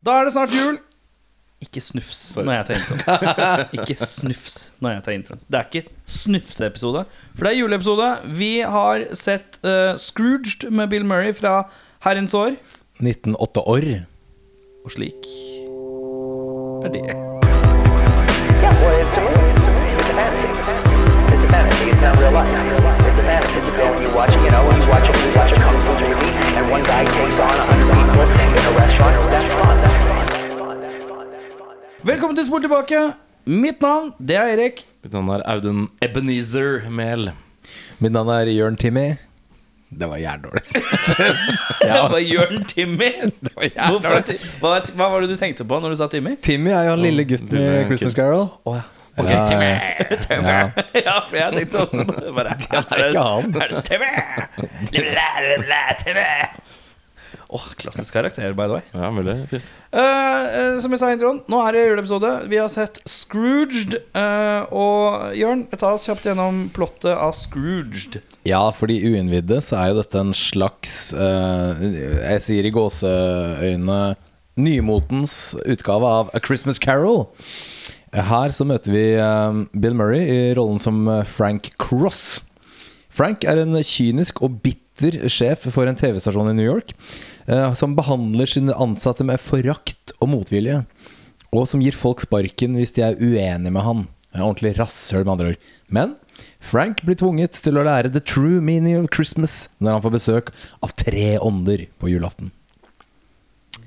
Da er det snart jul. Ikke snufs når jeg tar introen. Ikke snufs når jeg tar introen. Det er ikke snufseepisode, for det er juleepisode. Vi har sett eh, Scrooged med Bill Murray fra herrens år, 1908 år. og slik er det. Yeah, well, it's a movie. It's a movie. It's a fantasy. It's a fantasy. It's not real life. It's a fantasy. You go and you watch, you know, you watch, a, you watch a kung fu movie, and one guy takes on a hundred people in a restaurant. That's fun. That's fun. That's fun. That's fun. That's fun. Velkommen til Sport tilbake. Mitt navn, det er Erik. Mitt navn er Audun Ebenezer Mehl. Mitt navn er Jørn Timmy. Det var jævlig Det var Jørn Timmy. Hvorfor er ti- Hva, hva var det du tenkte på når du sa Timmy? Timmy er jo han lille gutten i Lille Christmas kid. Carol. Oh, ja. ja, ja. Ja, for jeg tenkte også på det. Bare, det er ikke han. Er det TV? Lilla, lilla, TV. Åh, klassisk karakter, by the way. Ja, veldig fint. Eh, eh, som jeg sa i introen, nå er det juleepisode. Vi har sett Scrooged. eh, og Jørn, ta oss kjapt gjennom plottet av Scrooged. ja, for de uinnvidde så er jo dette en slags eh, Jeg sier i gåseøyne nymotens utgave av A Christmas Carol. Her så møter vi eh, Bill Murray i rollen som eh, Frank Cross. Frank er en kynisk og bitter sjef for en TV-stasjon i New York, eh, som behandler sine ansatte med forakt og motvilje, og som gir folk sparken hvis de er uenige med han. En ordentlig rasshøl, med andre ord. Men Frank blir tvunget til å lære the true meaning of Christmas når han får besøk av tre ånder på julaften.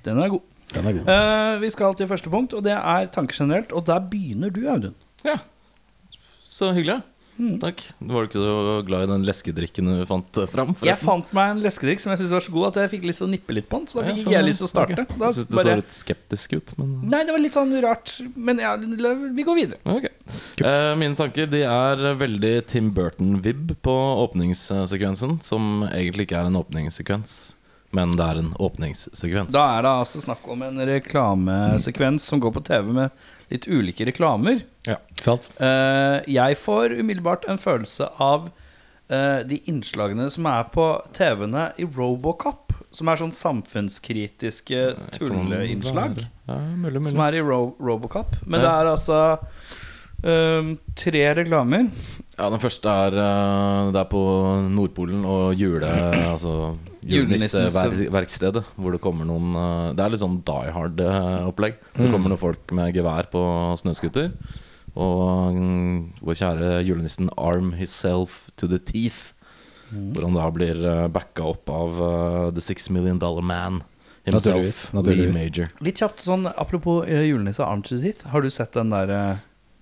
Den er god. Den er god. Eh, vi skal til første punkt, og det er tanker generelt. Og der begynner du, Audun. Ja. Så hyggelig. Hmm. Takk. Du var jo ikke så glad i den leskedrikken du fant eh, fram, Jeg fant meg en leskedrikk som jeg syntes var så god at jeg fikk lyst til å nippe litt på den. Så da Ja, fikk sånn, ikke jeg lyst til å ok. starte. Da Jeg syns du bare- så litt skeptisk ut, men Nei, det var litt sånn rart. Men ja, vi går videre. Ok. Eh, mine tanker de er veldig Tim Burton-vibb på åpningssekvensen, som egentlig ikke er en åpningssekvens, men det er en åpningssekvens. Da er det altså snakk om en reklamesekvens som går på TV med litt ulike reklamer. ja. Sant? Eh, jeg får umiddelbart en følelse av eh, de innslagene som er på TV-ene i Robocop, som er sånn samfunnskritiske tulleinnslag. Sånn- Ja, mulig, mulig. Som er i Ro Robocop. Men det Ja. er altså eh, tre reklamer. Ja, den første er eh, Det er på Nordpolen og jule... Altså Julenissens- julenisseverkstedet. Hvor det kommer noen eh, Det er litt sånn Die Hard-opplegg. Det kommer noen folk med gevær på snøskuter. Og mm, vår kjære julenissen arm himself to the teeth. Hvor han da blir eh, backa opp av eh, The Six Million Dollar Man. Naturligvis, naturligvis. Lee Major. Litt kjapt sånn apropos eh, julenisse Arm to the Teeth. Har du sett den der eh,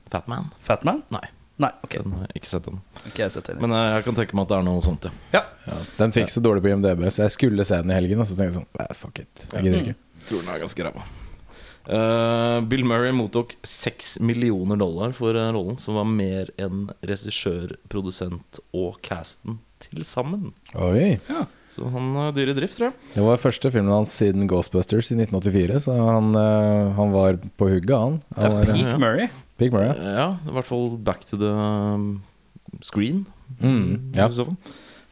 Fat Man? Fat Man? Nei, Nei, ok. den har jeg ikke sett den. Ikke jeg sett heller. Men eh, jeg kan tenke meg at det er noe sånt, ja. Ja. Den fikk så dårlig på IMDb, så jeg skulle se den i helgen, og så tenkte jeg sånn "Nei, Fuck it. Jeg gidder ikke. Tror den er ganske ræva. Eh, Bill Murray mottok seks millioner dollar for eh, rollen, som var mer enn regissør, produsent og casten til sammen. Oi. Så han er dyr i drift, tror jeg. Det var første filmen hans siden Ghostbusters i 1984, så han, eh, han var på hugget, han. Det han er var, eh, Peak ja. Murray. Big Murray. ja. Ja, i hvert fall back to the um, screen. Mm, ja. i så fall.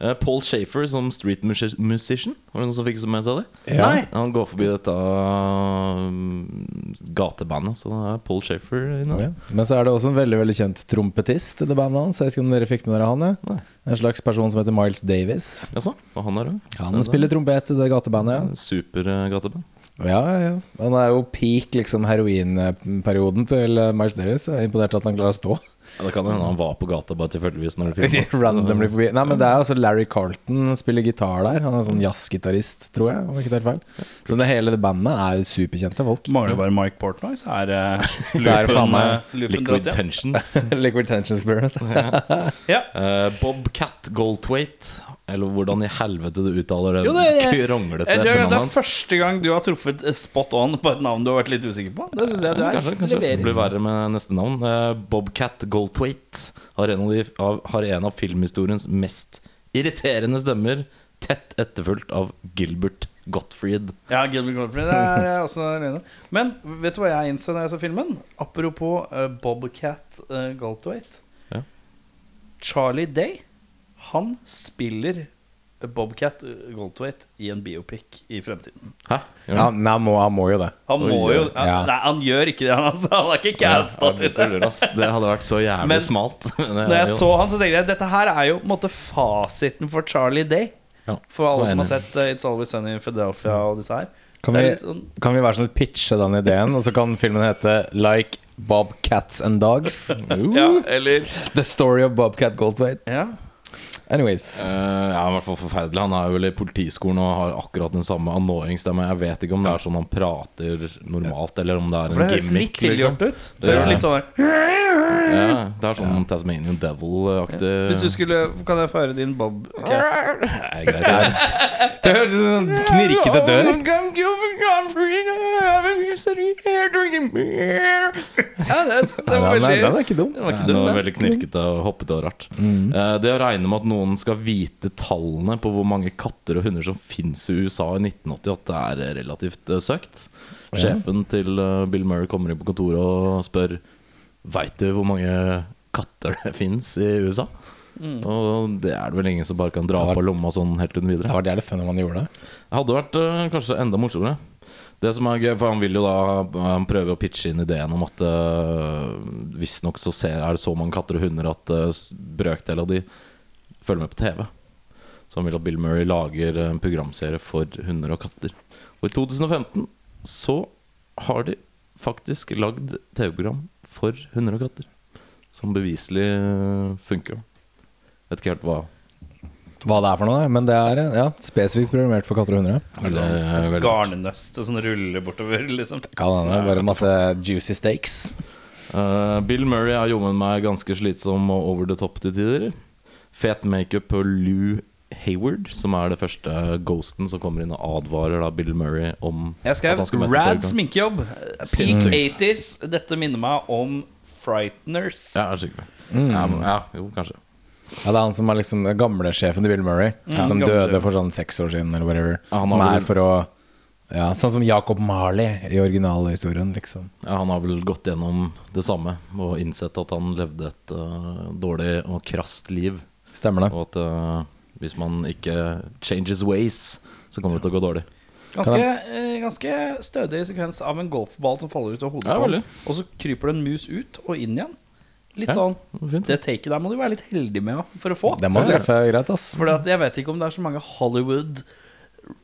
Eh, Paul Shafer som street musi- musician. Var det noen som fikk med seg det? Ja. Nei. Han går forbi dette um, gatebandet, så det er Paul Shafer inne. Ja. Men så er det også en veldig veldig kjent trompetist i det bandet hans. Jeg vet ikke om dere fikk med dere han, ja. Nei. En slags person som heter Miles Davis. Jaså, og han er òg? Han spiller trompet i det gatebandet, Supergateband. ja. ja. ja, ja. Han er jo peak liksom, heroinperioden til eh, Miles Davis. Jeg er imponert at han klarer å stå. Ja, det kan hende han var på gata bare tilfeldigvis når du filma. Randomly forbi Nei, men det er altså Larry Carlton spiller gitar der. Han er sånn jazzgitarist, tror jeg. Om jeg ikke tar feil. Så det hele det bandet er superkjente folk. Mangler bare Mike Portnoy, så er eh, Så er det faen loopen, meg eh, loopen dratt Liquid igjen. Tensions. Liquid Tension Experience. Ja. Eh, Bobcat Goldthwait. Eller hvordan i helvete du uttaler det Jo, det er- kronglete Jeg tror etternavnet Eh, Det er hans. første gang du har truffet eh, spot on på et navn du har vært litt usikker på. Det synes jeg du er. Kanskje, kanskje det Leverer. blir verre med neste navn. Eh, Bobcat Goldthwait har en av, de, av, har en av filmhistoriens mest irriterende stemmer, tett etterfulgt av Gilbert Gottfried. Ja, Gilbert Gottfried det er jeg også enig i. Men vet du hva jeg innså da jeg så filmen? Apropos eh, Bobcat uh, Goldthwait. Ja. Charlie Day, han spiller Bobcat Goldthwait i en biopic i fremtiden. Hæ? Gjør Ja, den? nei, han må, han må jo det. Han må Oi, jo oi. han, Ja. Nei, han gjør ikke det. Han, altså, han er ikke casta Ja, til jeg det. tuller, ass. Det hadde vært så jævlig Men- smalt. Men det Når er jeg jo- så han, så tenkte jeg dette her er jo på en måte fasiten for Charlie Day. Ja. For alle Jeg er som har enig. sett eh, It's Always Sunny in Philadelphia og disse her. Kan Det er vi, litt sånn- kan vi være sånn at pitche den ideen, og så kan filmen hete Like Bob Cats and Dogs? Ja, eller The story of Bobcat Goldthwait. ja. Anyways. Eh, ja, i hvert fall forferdelig. Han er vel i politiskolen og har akkurat den samme annoyingstemma. Jeg vet ikke om det er sånn han prater normalt, eller om det er en For det høres litt gimmick. liksom. tilgjort ut. Det høres Ja. litt sånn der Ja, det er sånn Tasmanian Devil-aktig. Hvis du skulle Kan jeg få høre din Bobcat? Nei, greit, greit. Det høres ut som en knirkete dør. Ja, det, det Ja, var den, er, den veldig er ikke dum. Det var Nei, ikke det dum, var det. veldig knirkete og hoppete og rart. Eh, det å regne med at noen skal vite tallene på hvor mange katter og hunder som fins i USA i 1988, det er relativt eh, søkt. Sjefen til eh, Bill Murray kommer inn på kontoret og spør Veit du hvor mange katter det fins i USA. Og det er det vel ingen som bare kan dra Det var- på lomma sånn helt uten videre. Det var jævlig fun om han gjorde det. Det hadde vært eh, kanskje enda morsommere. Det som er gøy, for Han vil jo da Han prøver å pitche inn ideen om at eh, visstnok så ser, er det så mange katter og hunder at uh, brøkdel av de følger med på TV. Så han vil at Bill Murray lager en programserie for hunder og katter. Og i 2015 så har de faktisk lagd TV-program for hunder og katter. Som beviselig eh, funker. Vet ikke helt hva. Hva det er for noe, men det er ja, spesifikt programmert for katter og hunder. ja. Det er veldig- Garnnøst og sånn ruller bortover, liksom. Kan hende. Bare masse juicy steaks. Eh, Bill Murray er jommen meg ganske slitsom og over the top til tider. Fet makeup på Lou Hayward, som er det første ghosten som kommer inn og advarer da Bill Murray om Jeg at han skal skrev møte rad David Dunn. sminkejobb. Peak Sinnssykt. 80s. Dette minner meg om Frighteners. Ja, jeg er sikker. Ja, men- ja, jo, kanskje. Ja, det er han som er liksom den gamle sjefen til Bill Murray, som gamle døde sjefen. for sånn seks år siden, eller whatever. Ja, han som har er vel- for å Ja, sånn som Jacob Marley i originalhistorien, liksom. Ja, han har vel gått gjennom det samme og innsett at han levde et eh, dårlig og krast liv. Stemmer det. Og at eh, hvis man ikke changes ways, så kommer det til å gå dårlig. Ganske, eh, ganske stødig sekvens av en golfball som faller ut av hodet Ja, på ham. veldig. Og så kryper det en mus ut og inn igjen. Litt Ja, sånn fint. Det taket der må du være litt heldig med ja, for å få. Det må treffe greit, ass. For jeg vet ikke om det er så mange Hollywood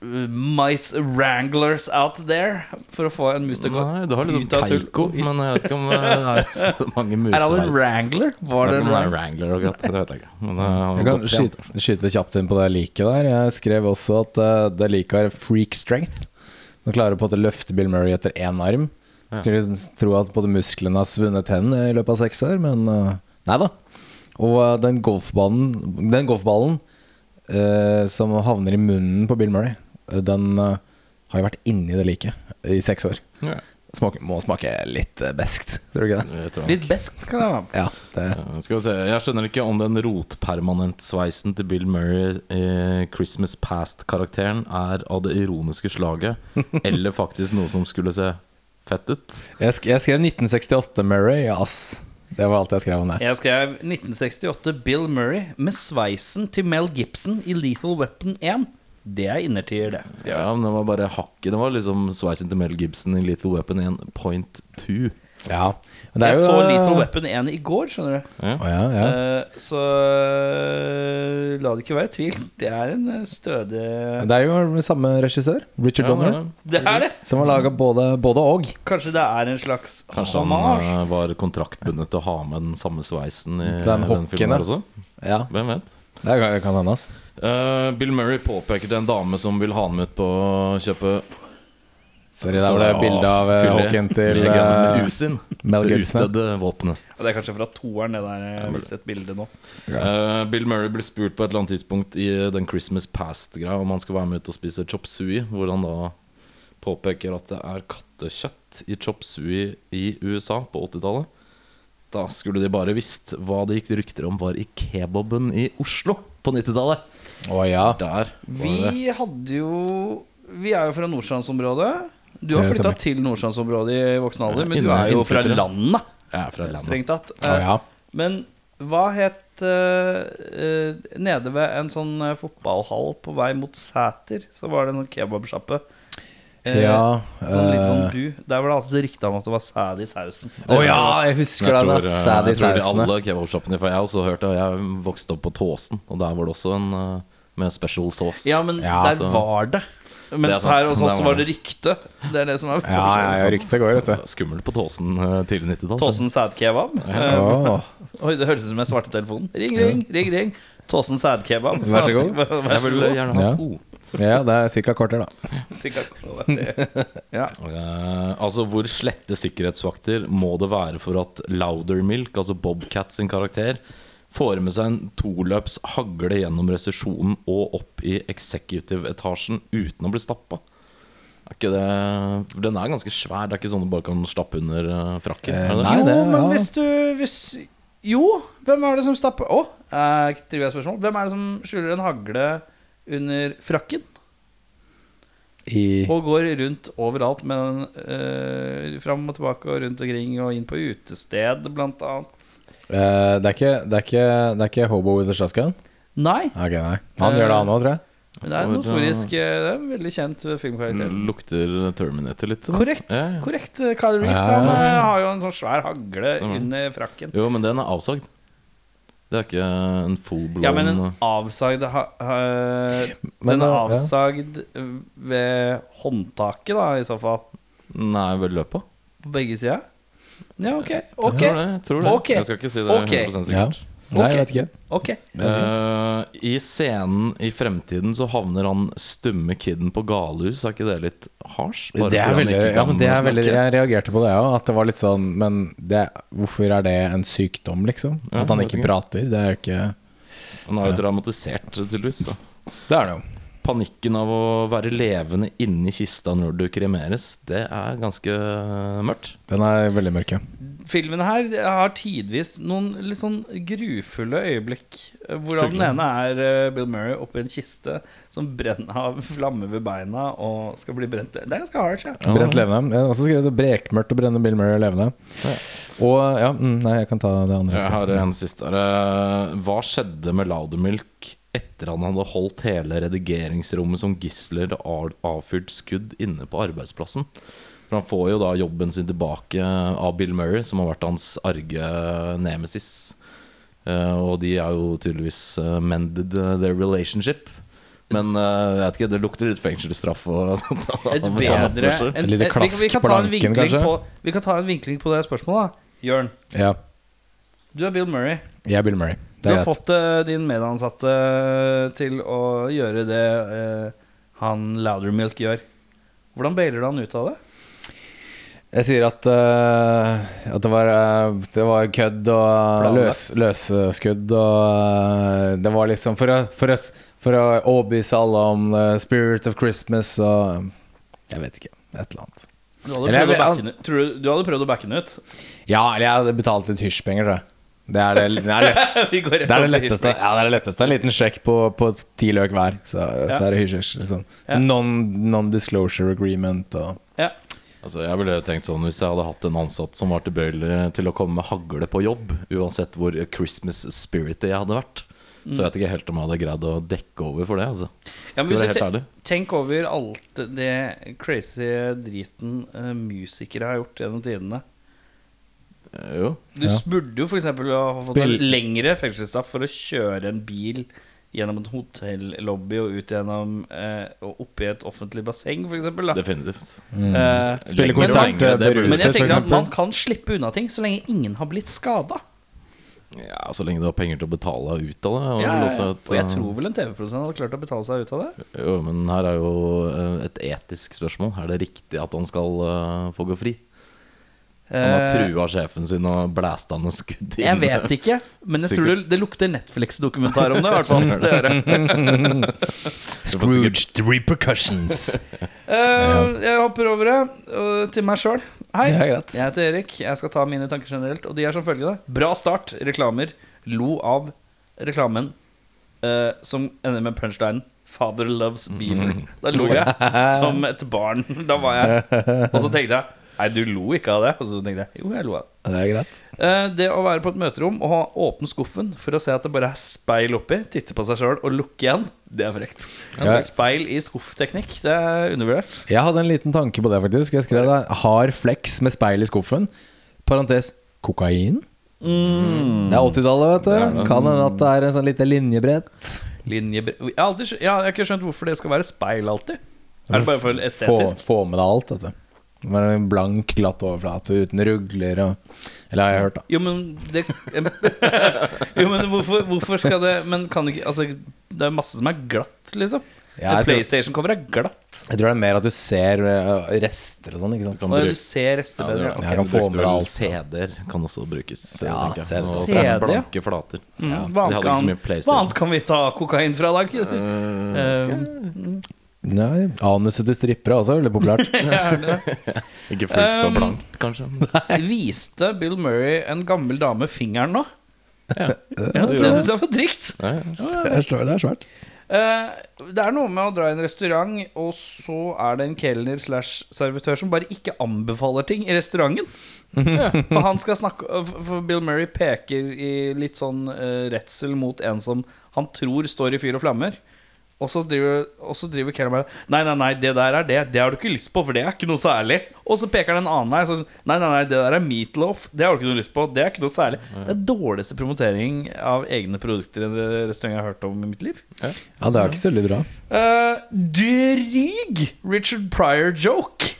uh, mice wranglers out there for å få en mus til å gå Nei, du har liksom ut av et hull Keiko, og i- men jeg vet ikke om eh, det er så mange muser Er han her. en wrangler? Var det Vet ikke om det er en Wrangler og katt, det vet jeg ikke. Men det har Jeg kan gått igjen. skyte, skyte kjapt inn på det liket der. Jeg skrev også at eh, det liket har freak strength. Som klarer på at det løfter Bill Murray etter én arm. Skulle liksom tro at både musklene har svunnet hen i løpet av seks år, men eh, nei da. Og eh, den golfbanen Den golfballen eh, som havner i munnen på Bill Murray, eh, den eh, har jo vært inni det liket i seks år. Ja. Smaker, må smake litt eh, beskt, tror du ikke det? Jeg tror det. Litt beskt kan det være. Ja, det Eh, Skal vi se, Jeg skjønner ikke om den rotpermanentsveisen til Bill Murray i Christmas Past-karakteren er av det ironiske slaget, eller faktisk noe som skulle se fett ut. jeg, sk jeg skrev 1968 Murray, ja, ass. Det var alt jeg skrev om det. Jeg skrev 1968 Bill Murray med sveisen til Mel Gibson i Lethal Weapon 1. Det er innertier, det. skrev jeg. Ja, men Det var bare hakket. Det var liksom sveisen til Mel Gibson i Little Weapon 1.2. Ja. men Det er jeg jo, så Lethal Weapon 1 i går, skjønner du. Å, ja, ja. Eh, så eh, la det ikke være tvil. Det er en eh, stødig Men Det er jo samme regissør, Richard Donner, Det er det! som har laga både, både og. Kanskje det er en slags Kanskje han hommage. eh, var kontraktbundet til å ha med den samme sveisen i Den den, hokken, filmen ja. her også? Ja, Hvem vet? det kan, kan hende, ass. Eh, Bill Murray påpeker til en dame som vil ha ham ut på å kjøpe Sorry, der var det bilde av eh, Fyller Hawken til Megan eh, Medusin. Mel Det Gibson. utdødde våpenet. Og Det er kanskje fra toeren, det der. eh, Jeg viser et bilde nå. Eh, Bill Murray blir spurt på et eller annet tidspunkt i den Christmas Past-greia om han skal være med ut og spise chop sui, hvor han da påpeker at det er kattekjøtt i chop sui i USA på 80-tallet. Da skulle de bare visst hva det gikk rykter om var i kebaben i Oslo på 90-tallet. Å ja. Der var det Vi hadde jo Vi er jo fra Nordstrandsområdet. Du har Det flytta stemmer. til Nordstrandsområdet i voksen alder, men du Inne- er jo fra innflyttere. landet, Eh, Jeg er fra landet. strengt tatt. Å ja. Men Hva het eh, eh, Nede ved en sånn eh, fotballhall på vei mot Sæter, så var det en sånn kebabsjappe. Eh, Ja, Sånn litt sånn eh, bu. Der var det alltid rykte om at det var sæd i sausen. Å ja, jeg husker Jeg den. tror, eh, der Sad i jeg tror sausene. eh. alle kebabsjappene For jeg har også hørt det. og Jeg vokste opp på Tåsen, og der var det også en eh, med special sauce. Ja, men Ja, altså, der så- var det. Mens sant, her hos der oss var var det det. rykte. Det er det som er Ja, ja, ja, ryktet går, vet du. Skummelt på Tåsen eh, tidlig 90-tall. Tåsen sædkebab. Eh, Åh. Oi, det høres ut som jeg svarte telefonen. Ring, ring, ring. ring Tåsen sædkebab. Vær så god. Vær så god. Jeg ville gjerne ha Ja. to. Ja, det er ca. kvarter, da. Sikkert. Ja. Eh, altså, hvor slette sikkerhetsvakter må det være for at Loudermilk, altså Bobcat sin karakter, får med seg en toløps hagle gjennom resesjonen og opp i executive-etasjen uten å bli stappa? Er ikke det for Den er ganske svær, det er ikke sånn du bare kan stappe under eh, frakken? Eh, er det? nei. Jo, det- men ja. hvis du hvis, Jo, hvem er det som stapper Å, eh, trivielt spørsmål. Hvem er det som skjuler en hagle under frakken I og går rundt overalt med den eh, fram og tilbake og rundt omkring og inn på utested, blant annet? Eh, det, er ikke, det, er ikke, det er ikke Hobo with a shotgun? Nei, Ok, nei. Han gjør det, han òg, tror jeg. men det er en notorisk eh, Det er en veldig kjent Mm. filmkarakter. Lukter Terminator litt? da? Korrekt. Ja, ja. korrekt Kyle Reese Ja. han, eh, har jo en sånn svær hagle Stemmer. under frakken. Jo, men den er avsagd. Det er ikke en full blown Ja, men en avsagd ha, ha, Men Den da- er ja. avsagd ved håndtaket, da, i så fall. Nei, ved løpet. På begge sider. Ja, ok. Jeg Ok. tror det. Jeg, tror det. Ok. jeg skal ikke si det Ok. 100 Ja. sikkert. Nei, jeg Ok. vet ikke. ok Eh, I scenen i fremtiden så havner han stumme kiden på galehus. Er ikke det litt hasj? Bare Det fordi er han veldig, ikke ja, kan men det er veldig, snakke. jeg reagerte på det òg, at det var litt sånn Men det, hvorfor er det en sykdom, liksom? Ja, At han jeg vet ikke ikke. prater? Det er jo ikke Han er jo dramatisert, tydeligvis. da. Det er det jo. Panikken av å være levende inni kista når du kremeres, det er ganske mørkt. Den er veldig mørk, ja. Filmen her har tidvis noen litt sånn grufulle øyeblikk. eh, Hvorav den ene er eh, Bill Murray oppi en kiste som brenner av flammer ved beina og skal bli brent. Det er ganske hardt. Ja. Brent levende. Jeg har også skrevet 'Brekmørkt å brenne Bill Murray levende'. Og ja, mm, nei, jeg kan ta det andre. Jeg har etterpå. en siste. her. Eh, Hva skjedde med Loudermilk etter han hadde holdt hele redigeringsrommet som gisler og av- avfyrt skudd inne på arbeidsplassen? For han får jo da jobben sin tilbake av Bill Murray, som har vært hans arge nemesis. Eh, Og de er jo tydeligvis eh, mended eh, their relationship. Men eh, jeg vet ikke, det lukter litt fengselsstraff. og sånt. Et Med sånn bedre oppførsel. en- Et lite eh, vi- vi klask kan på ta en lanken, vinkling kanskje? på- Vi kan ta en vinkling på det spørsmålet, da. Jørn, Ja, du er Bill Murray. jeg er Bill Murray. Du Det er har greit. fått eh, din medansatte eh, til å gjøre det eh, han Loudermilk gjør. Hvordan bailer du han ut av det? Jeg sier at, eh, at det, var, eh, det var kødd og løs, løsskudd og eh, Det var liksom for å, for å, for å overbevise alle om the spirit of Christmas og eh, Jeg vet ikke. Et eller annet. Du hadde Eller jeg prøvd, å vil- backe den ut. Tror du, du hadde prøvd å backe den ut. Ja, eller jeg hadde betalt litt hysjpenger, tror jeg. Det er det, det, er det, Vi går rett det, er det over til letteste. hysj. Ja, det er det letteste. En liten sjekk på, på ti løk hver, så, så Ja. er det hysj. Liksom. Ja. Så non- non-disclosure agreement og Ja. Altså, jeg ville tenkt sånn Hvis jeg hadde hatt en ansatt som var tilbøyelig til å komme med hagle på jobb, uansett hvor Christmas spirity jeg hadde vært, så jeg vet ikke helt om jeg hadde greid å dekke over for det. Altså. Mm. Ja, men Skal være hvis du helt ærlig. te- Tenk over alt det crazy driten eh, musikere har gjort gjennom tidene. Eh, Jo. Du Ja. burde jo f.eks. ha fått en Spill- lengre fengselsstraff for å kjøre en bil gjennom en hotellobby og ut gjennom eh, og opp i et offentlig basseng, f.eks. Definitivt. Eh, Lenger Spille og konsert lenger, det burde men jeg beruset, tenker at f.eks. man kan slippe unna ting så lenge ingen har blitt skada. Ja, Så lenge du har penger til å betale ut av det. Ja, Og, vel ja, ja. også et, Og jeg eh, tror vel en TV-produsent hadde klart å betale seg ut av det. Jo, men her er jo eh, et etisk spørsmål. Er det riktig at han skal eh, få gå fri? Han har Eh, trua sjefen sin og blæsta noen skudd Jeg vet ikke, men jeg tror det, det lukter Netflix-dokumentar om det. I hvert fall. Det gjør det. Scrooge repercussions. Eh, jeg hopper over det eh, til meg sjøl. Hei, Det er jeg greit. heter Erik. Jeg skal ta mine tanker generelt, og de er som følgende. Bra start, reklamer. Lo av reklamen eh, som ender med punchlinen 'Father loves beaver'. Da lo jeg som et barn. Da var jeg Og så tenkte jeg Nei, du lo ikke av det. Og så tenkte jeg jo, jeg lo av det. Det er greit. Eh, Det å være på et møterom og ha åpne skuffen for å se at det bare er speil oppi, titte på seg sjøl og lukke igjen, det er frekt. Ja. Speil i skuffteknikk, det er undervurdert. Jeg hadde en liten tanke på det, faktisk. Jeg skrev det. Hard flex med speil i skuffen. Parentes kokain. Mm. Det er 80-tallet, vet du. Kan hende at det er en sånn lite linjebrett. Linjebre... Jeg har, aldri, skjø- jeg har ikke skjønt hvorfor det skal være speil alltid. Er det bare for Få, estetisk? få med deg alt, vet du. Bare en blank, glatt overflate uten rugler og Eller har jeg hørt, da. Jo, men det Jo, men hvorfor, hvorfor skal det Men kan ikke Altså, det er masse som er glatt, liksom. Ja, jeg En tror- PlayStation-cover er glatt. Jeg tror det er mer at du ser eh, rester og sånn, ikke sant. Så bruke- du ser rester bedre. det. Ok. Jeg kan Du få brukte med vel alt. CD-er kan også brukes. eh, Ja, tenker jeg. CD. Og så er det CD, ja. Blanke flater. Mm, hva, Vi annet hadde ikke så kan, mye PlayStation. hva annet kan vi ta kokain fra, da? Eh, Nei, Anuset til strippere også er veldig populært. Ikke fullt så Um, blankt, kanskje. viste Bill Murray en gammel dame fingeren nå? Ja, det det gjorde syns jeg var drygt. Ja, ja. Det er svært- det er svært. Eh, det er noe med å dra i en restaurant, og så er det en kelner slash servitør som bare ikke anbefaler ting i restauranten. For han skal snakke eh, For for Bill Murray peker i litt sånn eh, redsel mot en som han tror står i fyr og flammer. Og så driver, og så driver kelneren bare Nei, nei, nei, det der er det. Det har du ikke lyst på, for det er ikke noe særlig. Og så peker han en annen vei. Sånn, nei, nei, nei, det der er meatloaf. Det har du ikke noe lyst på. Det er ikke noe særlig. Det er dårligste promotering av egne produkter i en restaurant jeg har hørt om i mitt liv. Ja, det er ikke så veldig bra. Eh, dryg Richard Pryor-joke.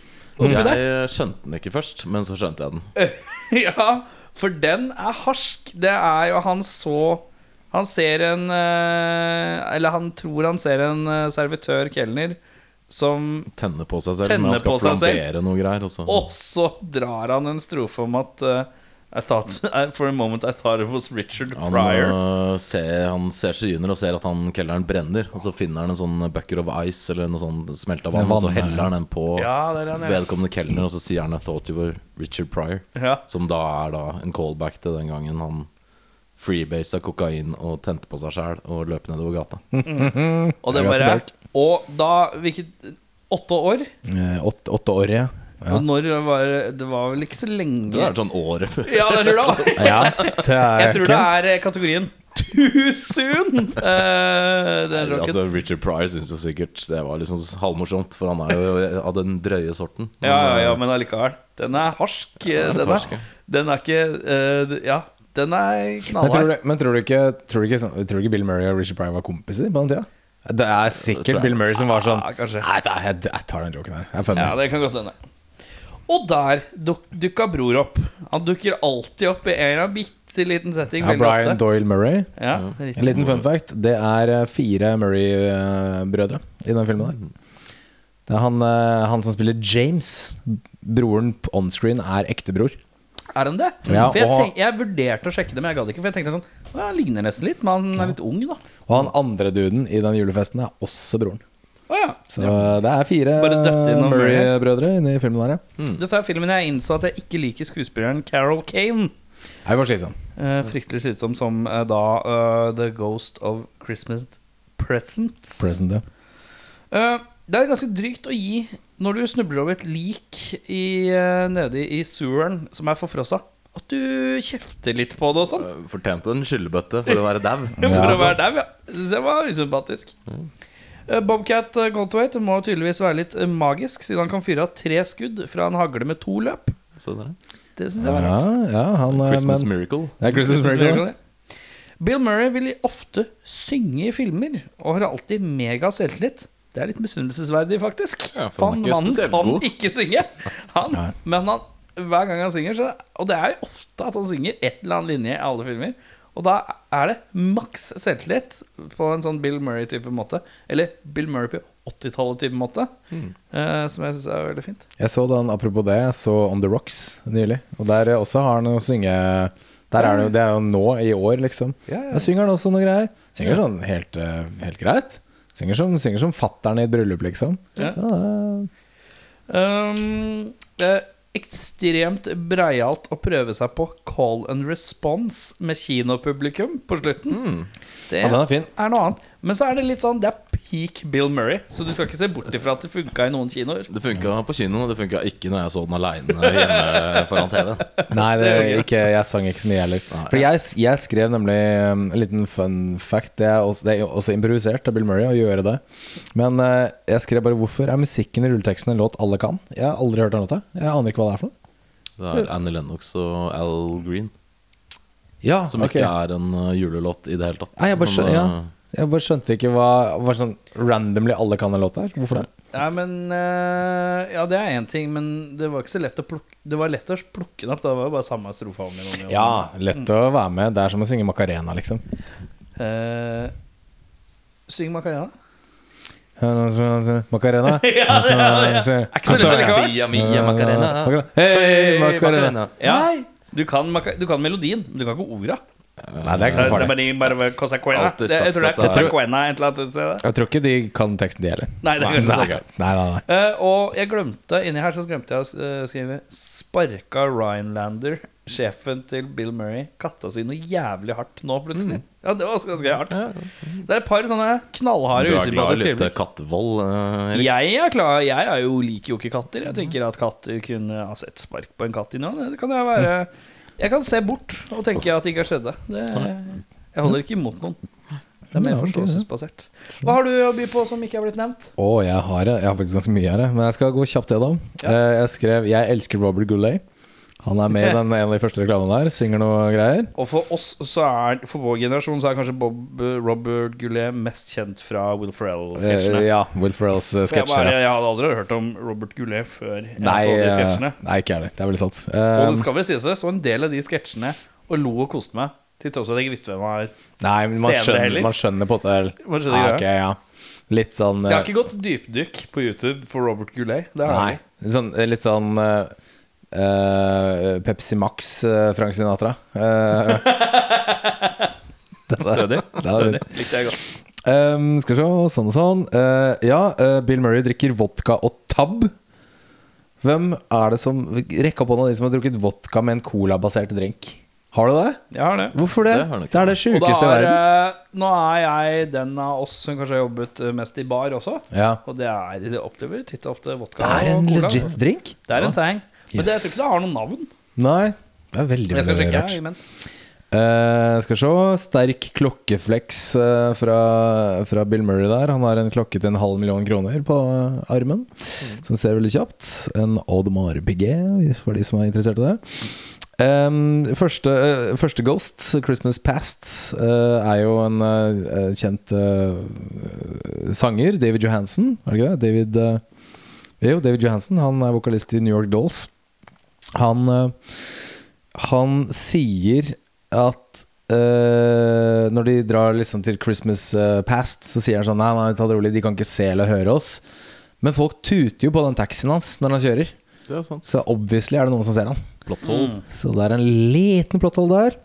Jeg skjønte den ikke først, men så skjønte jeg den. ja, for den er harsk. Det er jo han så Han ser en eh, Eller han tror han ser en eh, servitør, kelner, som Tenne på seg selv. Tenne men han skal på seg selv. flambere noe greier. Og så. Og så drar han en strofe om at eh, I thought, I- For a moment I thought it was Richard Han, Pryor. øh, ser, han ser skyner og ser at han kelneren brenner. Og så finner han en sånn bucker of ice eller noe sånn smelta vann, En og så vann, heller ja. han den på Ja, det er han, ja. vedkommende kelner, og så sier han 'I thought you were Richard Pryor'. Ja. Som da er da en callback til den gangen han freebasa kokain og tente på seg sjæl og løp nedover gata. Og det Jeg er bare ganske Og da Hvilket Åtte år? Eh, åtte, åtte år, ja. ja. Og når var det Det var vel ikke så lenge Det er sånn året før. Ja, det tror jeg det var. ja det er Jeg tror ikke- det er eh, kategorien Too soon! Eh, den rocken. Altså, Richard Pryor syns jo sikkert det var liksom halvmorsomt, for han er jo av den drøye sorten. Men, ja, ja, ja, eh, men allikevel. Den er harsk. eh, Den er, harsk, ja. den er ikke eh, d- Ja, den er Men tror, knallhard. du, men tror du ikke, tror du ikke, sånn, tror du ikke Bill Murray og Richard Pryor var kompiser på den tida? Det Det tror er sikkert jeg. Bill Murray som var sånn Ja, kanskje. Nei, da, jeg, jeg tar den joken her. Jeg er funny. Ja, det kan godt hende. Og der duk, dukka bror opp. Han dukker alltid opp i en eller annen bitte liten setting. Ja, veldig Brian ofte. Doyle Murray. Ja, riktig. En liten fun fact. Det er eh, fire Murray-brødre i den filmen der. Det er han, eh, han som spiller James. Broren på onscreen er ektebror. Er han det? Ja, for jeg, og- tenk, jeg vurderte å sjekke det, men jeg gadd ikke. For jeg tenkte sånn «Å, Han ligner nesten litt, men han er litt ung, da. Og han andre duden i den julefesten er også broren. Å ja. Så det er fire Bare døtte inn noen Murray-brødre inne i filmen der, ja. Dette er filmen jeg innså at jeg ikke liker skuespilleren Carol Kane. Jeg får si sånn. Eh, fryktelig slitsom som eh, da eh, The Ghost of Christmas Present. Present, ja. Eh, det er ganske drygt å gi når du snubler over et lik i, eh, nede i seweren som er forfrossa, at du kjefter litt på det og sånn. eh, Fortjente en skyllebøtte for å være dau. Altså, For Ja. å være der, ja. Det var usympatisk. Eh, Bobcat eh, Goldthwait må tydeligvis være litt eh, magisk, siden han kan fyre av tre skudd fra en hagle med to løp. Så det sånn er Det synes jeg var Ja, ja, han eh, Christmas men- Miracle. Det er Christmas Miracle. Bill Murray vil ofte synge i filmer og har alltid mega selvtillit. Det er litt misunnelsesverdig, faktisk. Ja, for for han, han er ikke mannen spesielt kan god. ikke synge. Han, Nei. men han, hver gang han synger, så Og det er jo ofte at han synger et eller annet linje i alle filmer. Og da er det maks selvtillit på en sånn Bill Murray-type måte. Eller Bill Murray på 80-tallet-type måte, eh, som jeg syns er veldig fint. Jeg så den, apropos det, jeg så On The Rocks nylig. Og der eh, også har han å synge der er det, jo, det er jo nå, i år, liksom. Ja, ja. Der synger han også noe greier. Synger sånn helt, eh, helt greit. Synger som, synger som fattern i et bryllup, liksom. Ja. Så, eh, Um, det er ekstremt breialt å prøve seg på call and response med kinopublikum på slutten. Det Mm. ja, den er er fin. noe annet. Men så er det litt sånn Det er peak Bill Murray, så du skal ikke se bort ifra at det funka i noen kinoer. Det funka på kino, det funka ikke når jeg så den aleine hjemme foran TV-en. Nei, det, er ikke, jeg sang ikke så mye heller. For jeg, jeg skrev nemlig um, en liten fun fact. Det er også, det er også improvisert av Bill Murray å gjøre det. Men eh, jeg skrev bare 'Hvorfor er musikken i rulleteksten en låt alle kan?' Jeg har aldri hørt den låta. Jeg aner ikke hva det er for noe. Det er Annie Lennox og Al Green, Ja, som Ah, ok. ikke er en uh, julelåt i det hele tatt. Nei, jeg bare, skjøn, Men, ja. uh, jeg bare skjønte ikke hva, hva sånn randomly alle kan en låt er. Hvorfor det? Nei, men eh, Ja, det er én ting, men det var ikke så lett å plukke Det var lett å plukke den opp. Da var det bare samme strofa om igjen. Ja, lett å være med. Det er som å synge Macarena, liksom. Uh, syng Macarena. Macarena. Ja, det er det, ja. Er ikke så Altså, lett å like av. Sia mia Macarena. Hei, Macarena. Ja. Du kan, Maca- du kan melodien, men du kan ikke orda. Nei, det er Det ikke er så farlig. bare, bare Cosacuena. Alltid Det- Jeg tror det er sagt at det er- Cosacuena et eller annet sted. Jeg tror ikke de kan teksten, de heller. Nei, det er kanskje Nei, sant. nei, nei. Eh, og jeg glemte inni her så glemte jeg å eh, skrive Sparka Rhinelander, sjefen til Bill Murray, katta si noe jævlig hardt nå, plutselig. Ja, det var også ganske hardt. Det er et par sånne knallharde, Du er glad i usympatiske litt øyeblikk. kattevold, eh, Erik. Jeg er klar, jeg er jo, liker jo ikke katter. Jeg tenker at katter kunne ha sett spark på en katt innimellom. Det kan jeg være Jeg kan se bort og tenke at det ikke har skjedd. det. Det, jeg holder ikke imot noen. Det er mer Ja, ok, forståelsesbasert. Hva har du å by på som ikke har blitt nevnt? Å, jeg har, jeg har faktisk ganske mye her, jeg. men jeg skal gå kjapt gjennom. Eh, Jeg skrev 'Jeg elsker Robert Goulet'. Han er med i den, en av de første reklamene der. Synger noe greier. Og for oss, så er, for vår generasjon, så er kanskje Bob, Robert Goulet mest kjent fra Will Eh, Ferrell-sketsjene. Ja, Will Ferrells eh, For jeg, bare- sketsjer. ja. jeg hadde aldri hørt om Robert Goulet før jeg Nei, så de eh, sketsjene. nei, ikke jeg heller. Det er veldig sant. Og Eh, det skal vel sies, jeg så en del av de sketsjene og lo og koste meg, til tross for at jeg ikke visste hvem han er. Nei, men se man det skjønner, heller. man skjønner på det. Man skjønner ok, ja. Litt sånn Jeg har eh, ikke gått dypdykk på YouTube for Robert Goulet. Det har Nei. jeg ikke. Litt sånn, litt sånn eh, eh, Pepsi Max, eh, Frank Sinatra. Eh, det er- Stødig. det er- Stødig. Likte jeg godt. Ehm, skal vi se, sånn og sånn. Eh, ja, eh, Bill Murray drikker vodka og tab. Hvem er det som Rekk opp hånda de som har drukket vodka med en colabasert drink. Har du det? Jeg har det. Hvorfor det? Det Det, har nok er det Og da sjukeste i er, verden. eh, nå er jeg den av oss som kanskje har jobbet eh, mest i bar også. Ja. Og det er det opplever titt og ofte vodka Det er en og cola. legit altså. drink. Det er en tang. Men det, jeg tror Yes. ikke det har noe navn. Nei. Det er veldig, Jeg skal veldig sjekke rart. her imens. Eh, skal vi se. Sterk klokkeflex eh, fra, fra Bill Murray der. Han har en klokke til en halv million kroner på eh, armen, som ser veldig kjapt. En Audemars Piguet, for de som er interessert i det. Em, første, eh, første Ghost, 'Christmas Past', eh, er jo en eh, kjent eh, sanger. David Johansen, er det ikke det? David, eh, jo, David Johansen. Han er vokalist i New York Dolls. Han eh, han sier at eh, når de drar liksom til Christmas eh, past, så sier han sånn Nei, nei, ta det rolig, de kan ikke se eller høre oss. Men folk tuter jo på den taxien hans når han kjører. Det er sant. Mm. Så obviously er det noen som ser han. Blått hold. Så det er en liten plotthold der.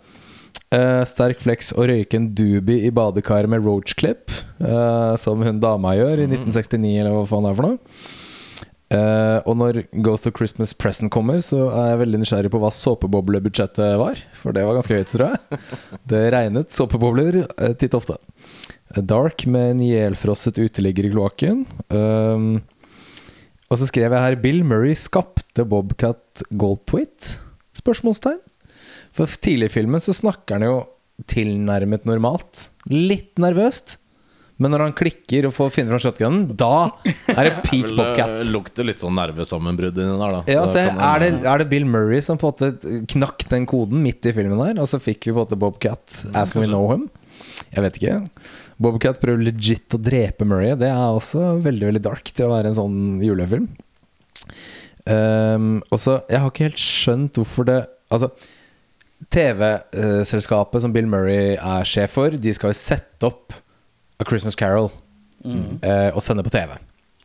Eh, sterk flex å røyke en doobie i badekaret med roachclip, eh, som hun dama gjør i 1969, eller hva faen det er for noe. Eh, og når Ghost of Christmas Present kommer, så er jeg veldig nysgjerrig på hva såpeboblebudsjettet var. For det var ganske høyt, tror jeg. Det regnet såpebobler eh, titt ofte. Dark med en ihjelfrosset uteligger i kloakken. Um, og så skrev jeg her Bill Murray skapte Bobcat Goldthwait? Spørsmålstegn. For tidlig i filmen så snakker han jo tilnærmet normalt. Litt nervøst. Men når han klikker og får finne fram shotgunen, da er det peak Vel, Bobcat. eh, Lukter litt sånn nervesammenbrudd inni der, da. Ja, Så se, kan man- er, det, er det Bill Murray som på en måte knakk den koden midt i filmen her, og så fikk vi på en måte Bobcat Mm, as we know him? Jeg vet ikke. Bobcat prøver legit å drepe Murray. Det er også veldig veldig dark til å være en sånn julefilm. Um, og så, jeg har ikke helt skjønt hvorfor det Altså, TV-selskapet som Bill Murray er sjef for, de skal jo sette opp A Christmas Carol eh, og sende på TV.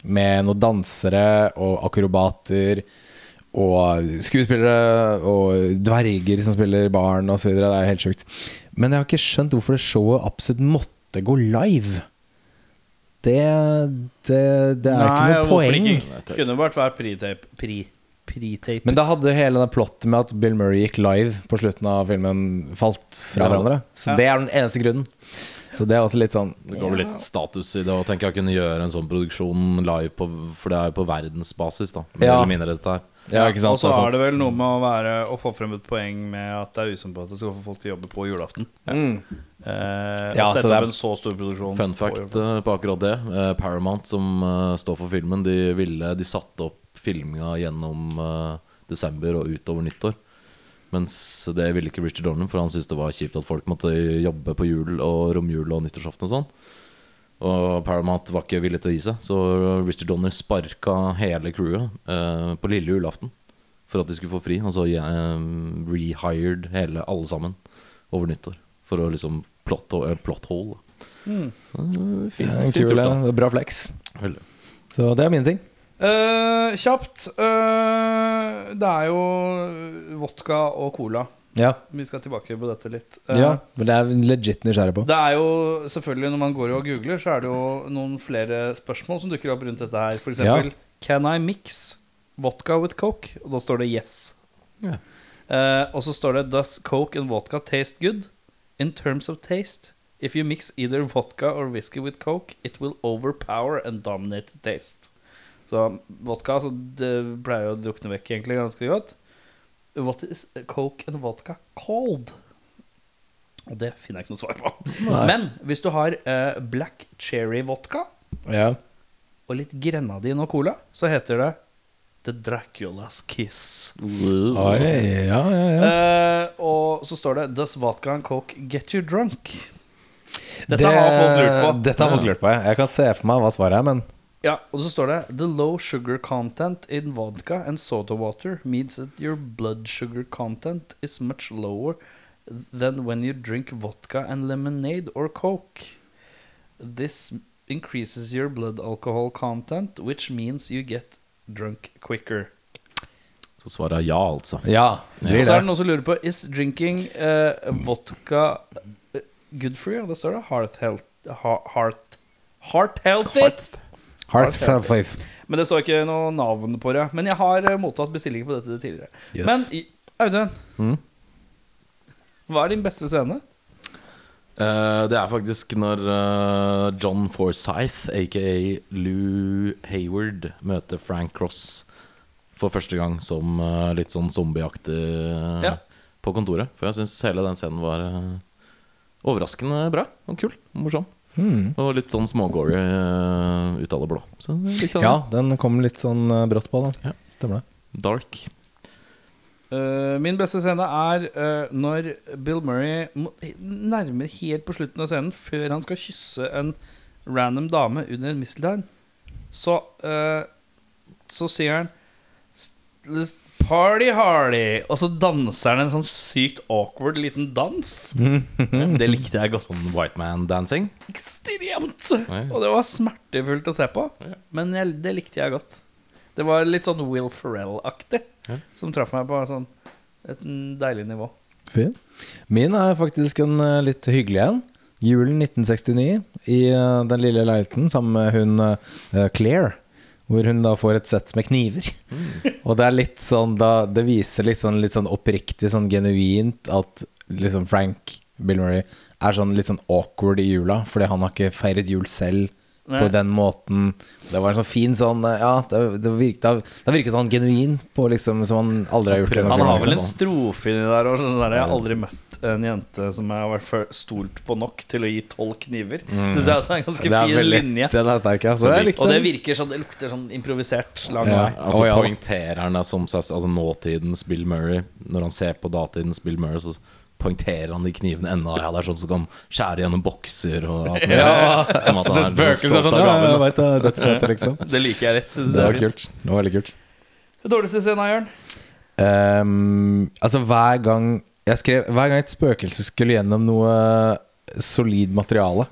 Med noen dansere og akrobater og skuespillere og dverger som spiller barn osv. Det er jo helt sjukt. Men jeg har ikke skjønt hvorfor det showet absolutt måtte gå live. Det, det, det er Nei, ikke noe hvorfor poeng. Ikke? Kunne vært hver pri-tape. Pri. pre-tapet. Men da hadde hele det plottet med at Bill Murray gikk live på slutten av filmen, falt fra Ja. hverandre. Så Ja. det er den eneste grunnen. Så det er også litt sånn Det går vel litt status i det å tenke å kunne gjøre en sånn produksjon live, på, for det er jo på verdensbasis, da. Mer Ja. eller mindre dette her. Ja, ikke sant? Altså, Og så sånn- Det er sant. er det vel noe med å, være, å få frem et poeng med at det er usympatisk å få folk til å jobbe på julaften. Eh, Mm. Ja, å sette så det er- opp en så stor produksjon. Fun på fact julaften. eh, på akkurat det. eh, Paramount, som eh, står for filmen, de, ville, de satte opp filminga gjennom eh, desember og utover nyttår. Mens det ville ikke Richard Dornan, for han syntes det var kjipt at folk måtte jobbe på jul og romjul og nyttårsaften og sånn. Og Paramount var ikke villig til å gi seg, så Richard Donner sparka hele crewet eh, på lille julaften for at de skulle få fri. Og så eh, rehired hele, alle sammen over nyttår for å liksom plot, eh, plot hole. Da. Så, eh, Ja, fint, en fint kul, gjort, eh, Bra flex. da. Veldig. Så det er mine ting. Eh, kjapt. eh, det er jo vodka og cola. Ja, Vi skal tilbake på dette litt. Eh, ja men det er jeg legit nysgjerrig på. Det er jo selvfølgelig Når man går og googler, så er det jo noen flere spørsmål som dukker opp rundt dette her. For eksempel Ja. Can I mix vodka with coke? Og da står det yes. Ja. Eh, og så står det Does coke and vodka taste good? In terms of taste If you mix either vodka or whisky with coke It will overpower and dominate the taste Så vodka altså, Det pleier jo å drukne vekk egentlig ganske godt What is coke and vodka called? Og det finner jeg ikke noe svar på Nei. Men hvis du har eh, black cherry vodka Ja. Og litt grenadin og cola Så heter det The Dracula's Kiss Oi, ja, ja, ja. Eh, og så står det 'Does vodka and coke get you drunk?' Dette Det- har folk lurt på. Dette har folk lurt på, ja. Jeg kan se for meg hva svaret er, men Ja, Og så står det 'The low sugar content in vodka and soda water means that your blood sugar content is much lower than when you drink vodka and lemonade or coke'. This increases your blood alcohol content, which means you get drunk quicker. Så svaret er ja, altså. ja. det Og så Blir er det det. noen som lurer på Is drinking eh, vodka eh, good for you? Det står det. Heart health. ha- Heart, heart healthy. Heart faith. Men det står ikke noe navn på det. Men jeg har eh, mottatt bestilling på dette tidligere. Yes. Mm. Men i- Audun, hva er din beste scene? Eh, det er faktisk når eh, John Forsythe, aka Lou Hayward, møter Frank Cross for første gang som eh, litt sånn zombieaktig eh, Ja. på kontoret. For jeg syns hele den scenen var eh, overraskende bra og kul og morsom. Hmm. Og litt sånn smågory eh, ut av det blå. Så jeg sånn likte den. Ja, den kom litt sånn eh, brått på, da. Ja. Stemmer det. Dark. Eh, min beste scene er eh, når Bill Murray må- nærmer helt på slutten av scenen, før han skal kysse en random dame under en misteltein, så, eh, så sier han "S- let's Party hardy! Og så danser han en sånn sykt awkward liten dans. Det likte jeg godt. Sånn white man dancing. Ekstremt! Oi. Og det var smertefullt å se på, men jeg, det likte jeg godt. Det var litt sånn Will Ferrell-aktig, Ja. som traff meg på sånn, et deilig nivå. Fin. Min er faktisk en eh, litt hyggelig en. Julen 1969 i eh, den lille leiligheten sammen med hun eh, Claire. Hvor hun da får et sett med kniver. Mm. Og det er litt sånn da, Det viser litt sånn, litt sånn oppriktig, sånn genuint, at liksom Frank Bill Murray er sånn litt sånn awkward i jula, fordi han har ikke feiret jul selv Nei. på den måten. Det var en sånn fin sånn eh, Ja, det, det virket, da virket han genuin på liksom som han aldri har gjort. gjennom Han filmen, har vel liksom. en strofe inni der og sånn der, Jeg har aldri møtt en jente som jeg har vært for- stolt på nok til å gi tolv kniver. Synes jeg også er en ganske Mm. Det er fin veldig- linje. Den er sterk, ja. Så jeg likte Og det den. virker sånn, det lukter sånn improvisert lang Ja. vei. Altså Å, ja. poengterer han det som seg Altså nåtidens Bill Murray Når han ser på datidens Bill Murray Så poengterer han de knivene enda Ja, det er sånn som kan skjære gjennom bokser Og alt mulig sånt. Som at han er liksom stolt av sånn. Ja, jeg gaven da. vet det. Det er dødsfett, liksom. Det liker jeg litt. synes Det jeg var er kult. Det var veldig kult. fint. Dårligste scenen, Jørn? Ehm, altså, hver gang jeg skrev Hver gang et spøkelse skulle gjennom noe solid materiale,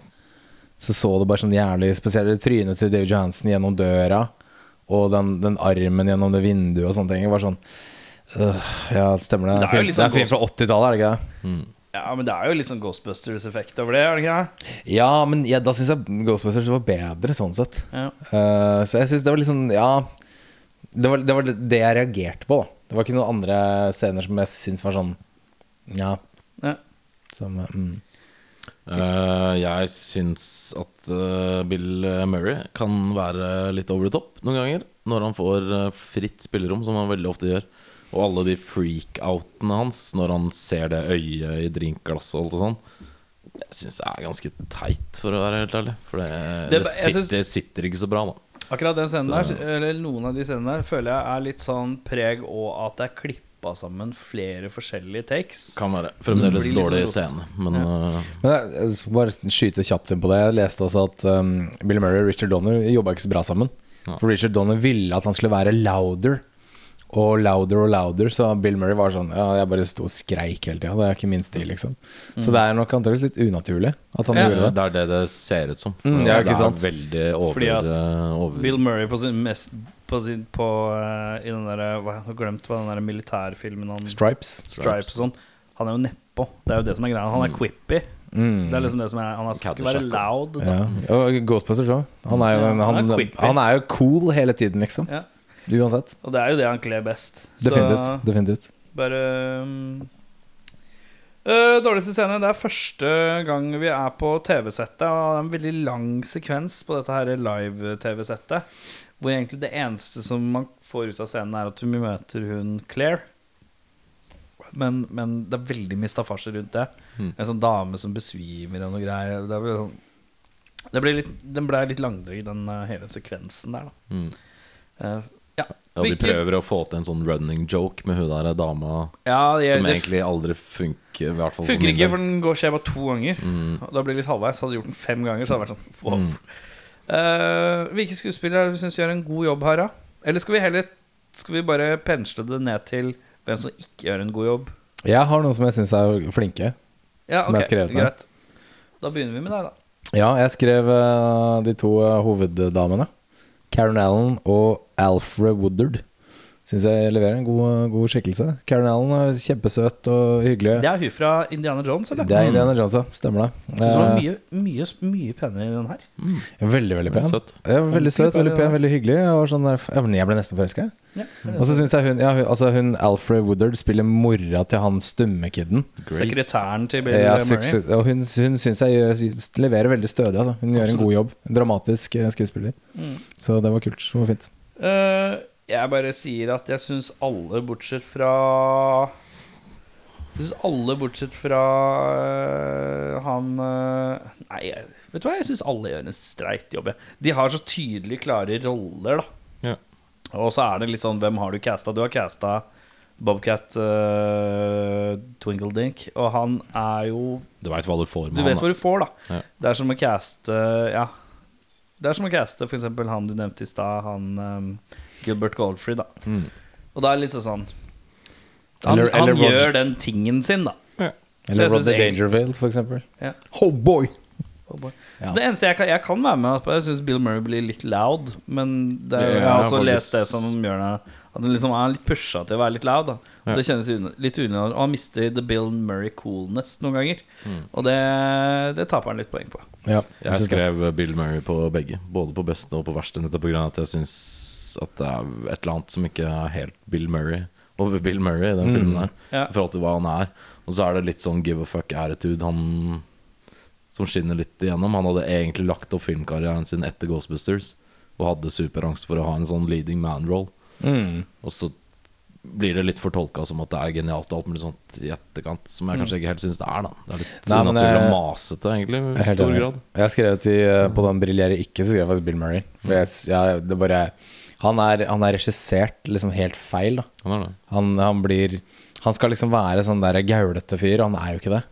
så så det bare sånn jævlig spesielt trynet til David Johansen gjennom døra, og den, den armen gjennom det vinduet og sånne ting. Det var sånn øh, Ja, stemmer det. Det er jo film- litt det sånn er film fra 80-tallet, er det ikke det? Ja, men det er jo litt sånn Ghostbusters-effekt over det, er det ikke det? Ja, men ja, da syns jeg Ghostbusters var bedre, sånn sett. Ja. Eh, så jeg syns det var litt sånn, ja det, var, det var det jeg reagerte på. da Det var ikke noen andre scener som jeg syns var sånn Ja. Ja. Som, mm. Eh, jeg syns at eh, Bill Murray kan være litt over the top noen ganger. Når han får eh, fritt spillerom, som han veldig ofte gjør. Og alle de freakoutene hans når han ser det øyet i drinkglasset og alt og sånn. Jeg syns det er ganske teit, for å være helt ærlig. For det, Det er det, ba- jeg sitter, syns- det sitter ikke så bra, da. Akkurat den scenen Så- der, eller noen av de scenene der, føler jeg er litt sånn preg og at det er klippa sammen flere forskjellige takes. Kan være Så det blir fremdeles liksom dårlig rost. scene, men eh, Men jeg, jeg skal bare skyte kjapt inn på det. Jeg leste også at um, Bill Murray og Richard Donner jobba ikke så bra sammen. Ja. For Richard Donner ville at han skulle være louder og louder og louder, så Bill Murray var sånn Ja, jeg bare sto og skreik hele tida. Det er ikke min stil, liksom. Så det er nok antakeligvis litt unaturlig at han Mm. Ja. gjorde det. det er det det ser ut som. Mm, ja, ikke sant. Det er veldig over, Fordi at eh, over Bill Murray på sin mest på sin, på, eh, I den der hva, Jeg har glemt hva den der militærfilmen han Stripes. Stripes og sånn. Han er jo nedpå. Det er jo det som er greia. Han er quippy. Mm. Det er liksom det som er Han er, skal ikke være Caddyshack. loud. Da. Ja. Og Ghostbusters òg. Han, er jo Ja, den- han han, er quippy. han er jo cool hele tiden, liksom. Ja. Uansett. Og det er jo det han kler best. Definitivt. Så Definitivt. bare mm, øh, Dårligste scene. Det er første gang vi er på TV-settet. Og det er en veldig lang sekvens på dette her live-TV-settet. Hvor egentlig det eneste som man får ut av scenen, er at vi møter hun Claire. Men, men det er veldig mye staffasje rundt det. Mm. En sånn dame som besvimer og noe greier. Det er vel sånn det ble litt, den ble litt langdryg, den eh, hele sekvensen der. Da. Mm. Eh, ja. Ja, de Hvilke- prøver å få til en sånn running joke med hun der dama Ja, det- som det egentlig aldri funker. I hvert fall Funker min ikke, del. for den går skjer bare to ganger. Mm. Og Da blir det litt halvveis. Hadde jeg gjort den fem ganger, så hadde det vært sånn wow. Mm. Eh, Hvilke skuespillere syns gjør en god jobb her, da? Eller skal vi heller Skal vi bare pensle det ned til hvem som ikke gjør en god jobb? Jeg har noen som jeg syns er flinke. Ja, Som jeg ok, har skrevet ned. greit. Da begynner vi med deg, da. Ja, jeg skrev eh, de to eh, hoveddamene. Karen Allen og Alfred Woodard. Syns jeg leverer en god, eh, god skikkelse. Karen Allen er kjempesøt og hyggelig. Det er hun fra Indiana Jones, eller? Det er Indiana Jones, ja. Stemmer det. Jeg synes hun var Eh, mye, mye, mye penere i den her. veldig, veldig pen. Søt. Ja, veldig søt, veldig Ordentlig pen, veldig hyggelig. Jeg, var sånn der, jeg ble- jeg ble nesten forelska. Ja, Og så syns jeg hun, ja, hun, altså hun Alfred Woodard spiller mora til han stumme kiden. Grace. Sekretæren til Bill Ja, Murray. suksess- og hun hun syns jeg gjør- leverer veldig stødig. Altså. Hun gjør en god jobb. Dramatisk eh, skuespiller. Mm. Så det var kult. Det var fint. Eh, jeg bare sier at jeg syns alle bortsett fra Jeg syns alle bortsett fra eh, han eh, Nei, jeg- vet du hva? Jeg syns alle gjør en streit jobb. jeg. De har så tydelig klare roller, da. Ja. Og så er det litt sånn Hvem har du casta? Du har casta Bobcat eh, Twinkledink, og han er jo Du veit hva du får med du vet han. hva du får, da. Ja. Det er som å caste Ja. Det er som å caste for eksempel han du nevnte i stad, han ehm, Gilbert Goldfrey, da. Mm. Og det er litt sånn Han, Eller- han eller Roger- gjør den tingen sin, da. Så Eller jeg synes Rodney egentlig- Dangerfield, for eksempel. Ja. Oh boy! Oh boy. Ja. Det eneste jeg kan, jeg kan være med på, jeg syns Bill Murray blir litt loud. Men det er, Ja, jeg har også faktisk. lest det som gjør det at han liksom er litt pusha til å være litt loud. Da. Og Ja. Det kjennes un- litt unødvendig. Og han mister the Bill Murray coolness noen ganger. Mm. Og det, det taper han litt poeng på. Ja, Jeg skrev Bill Murray på begge, både på beste og på verste, nettopp pga. at jeg syns at det er et eller annet som ikke er helt Bill Murray over Bill Murray i den filmen her, Ja. i forhold til hva han er. Og så er det litt sånn give a fuck attitude han som skinner litt igjennom. Han hadde egentlig lagt opp filmkarrieren sin etter Ghostbusters og hadde superangst for å ha en sånn leading man-roll. Mm. Og så blir det litt fortolka som at det er genialt og alt mulig sånt i etterkant, som jeg kanskje ikke helt syns det er, da. Det er litt Mm. Nei, men unaturlig og jeg- masete, egentlig, Jeg er i helt stor enig. grad. Jeg skrev til, eh, på den briljerer ikke, så skrev jeg faktisk Bill Murray. For jeg, s- jeg, det bare han er, han er regissert liksom helt feil, da. Han Sånn er det. Han, han blir Han skal liksom være sånn der gaulete fyr, og han er jo ikke det.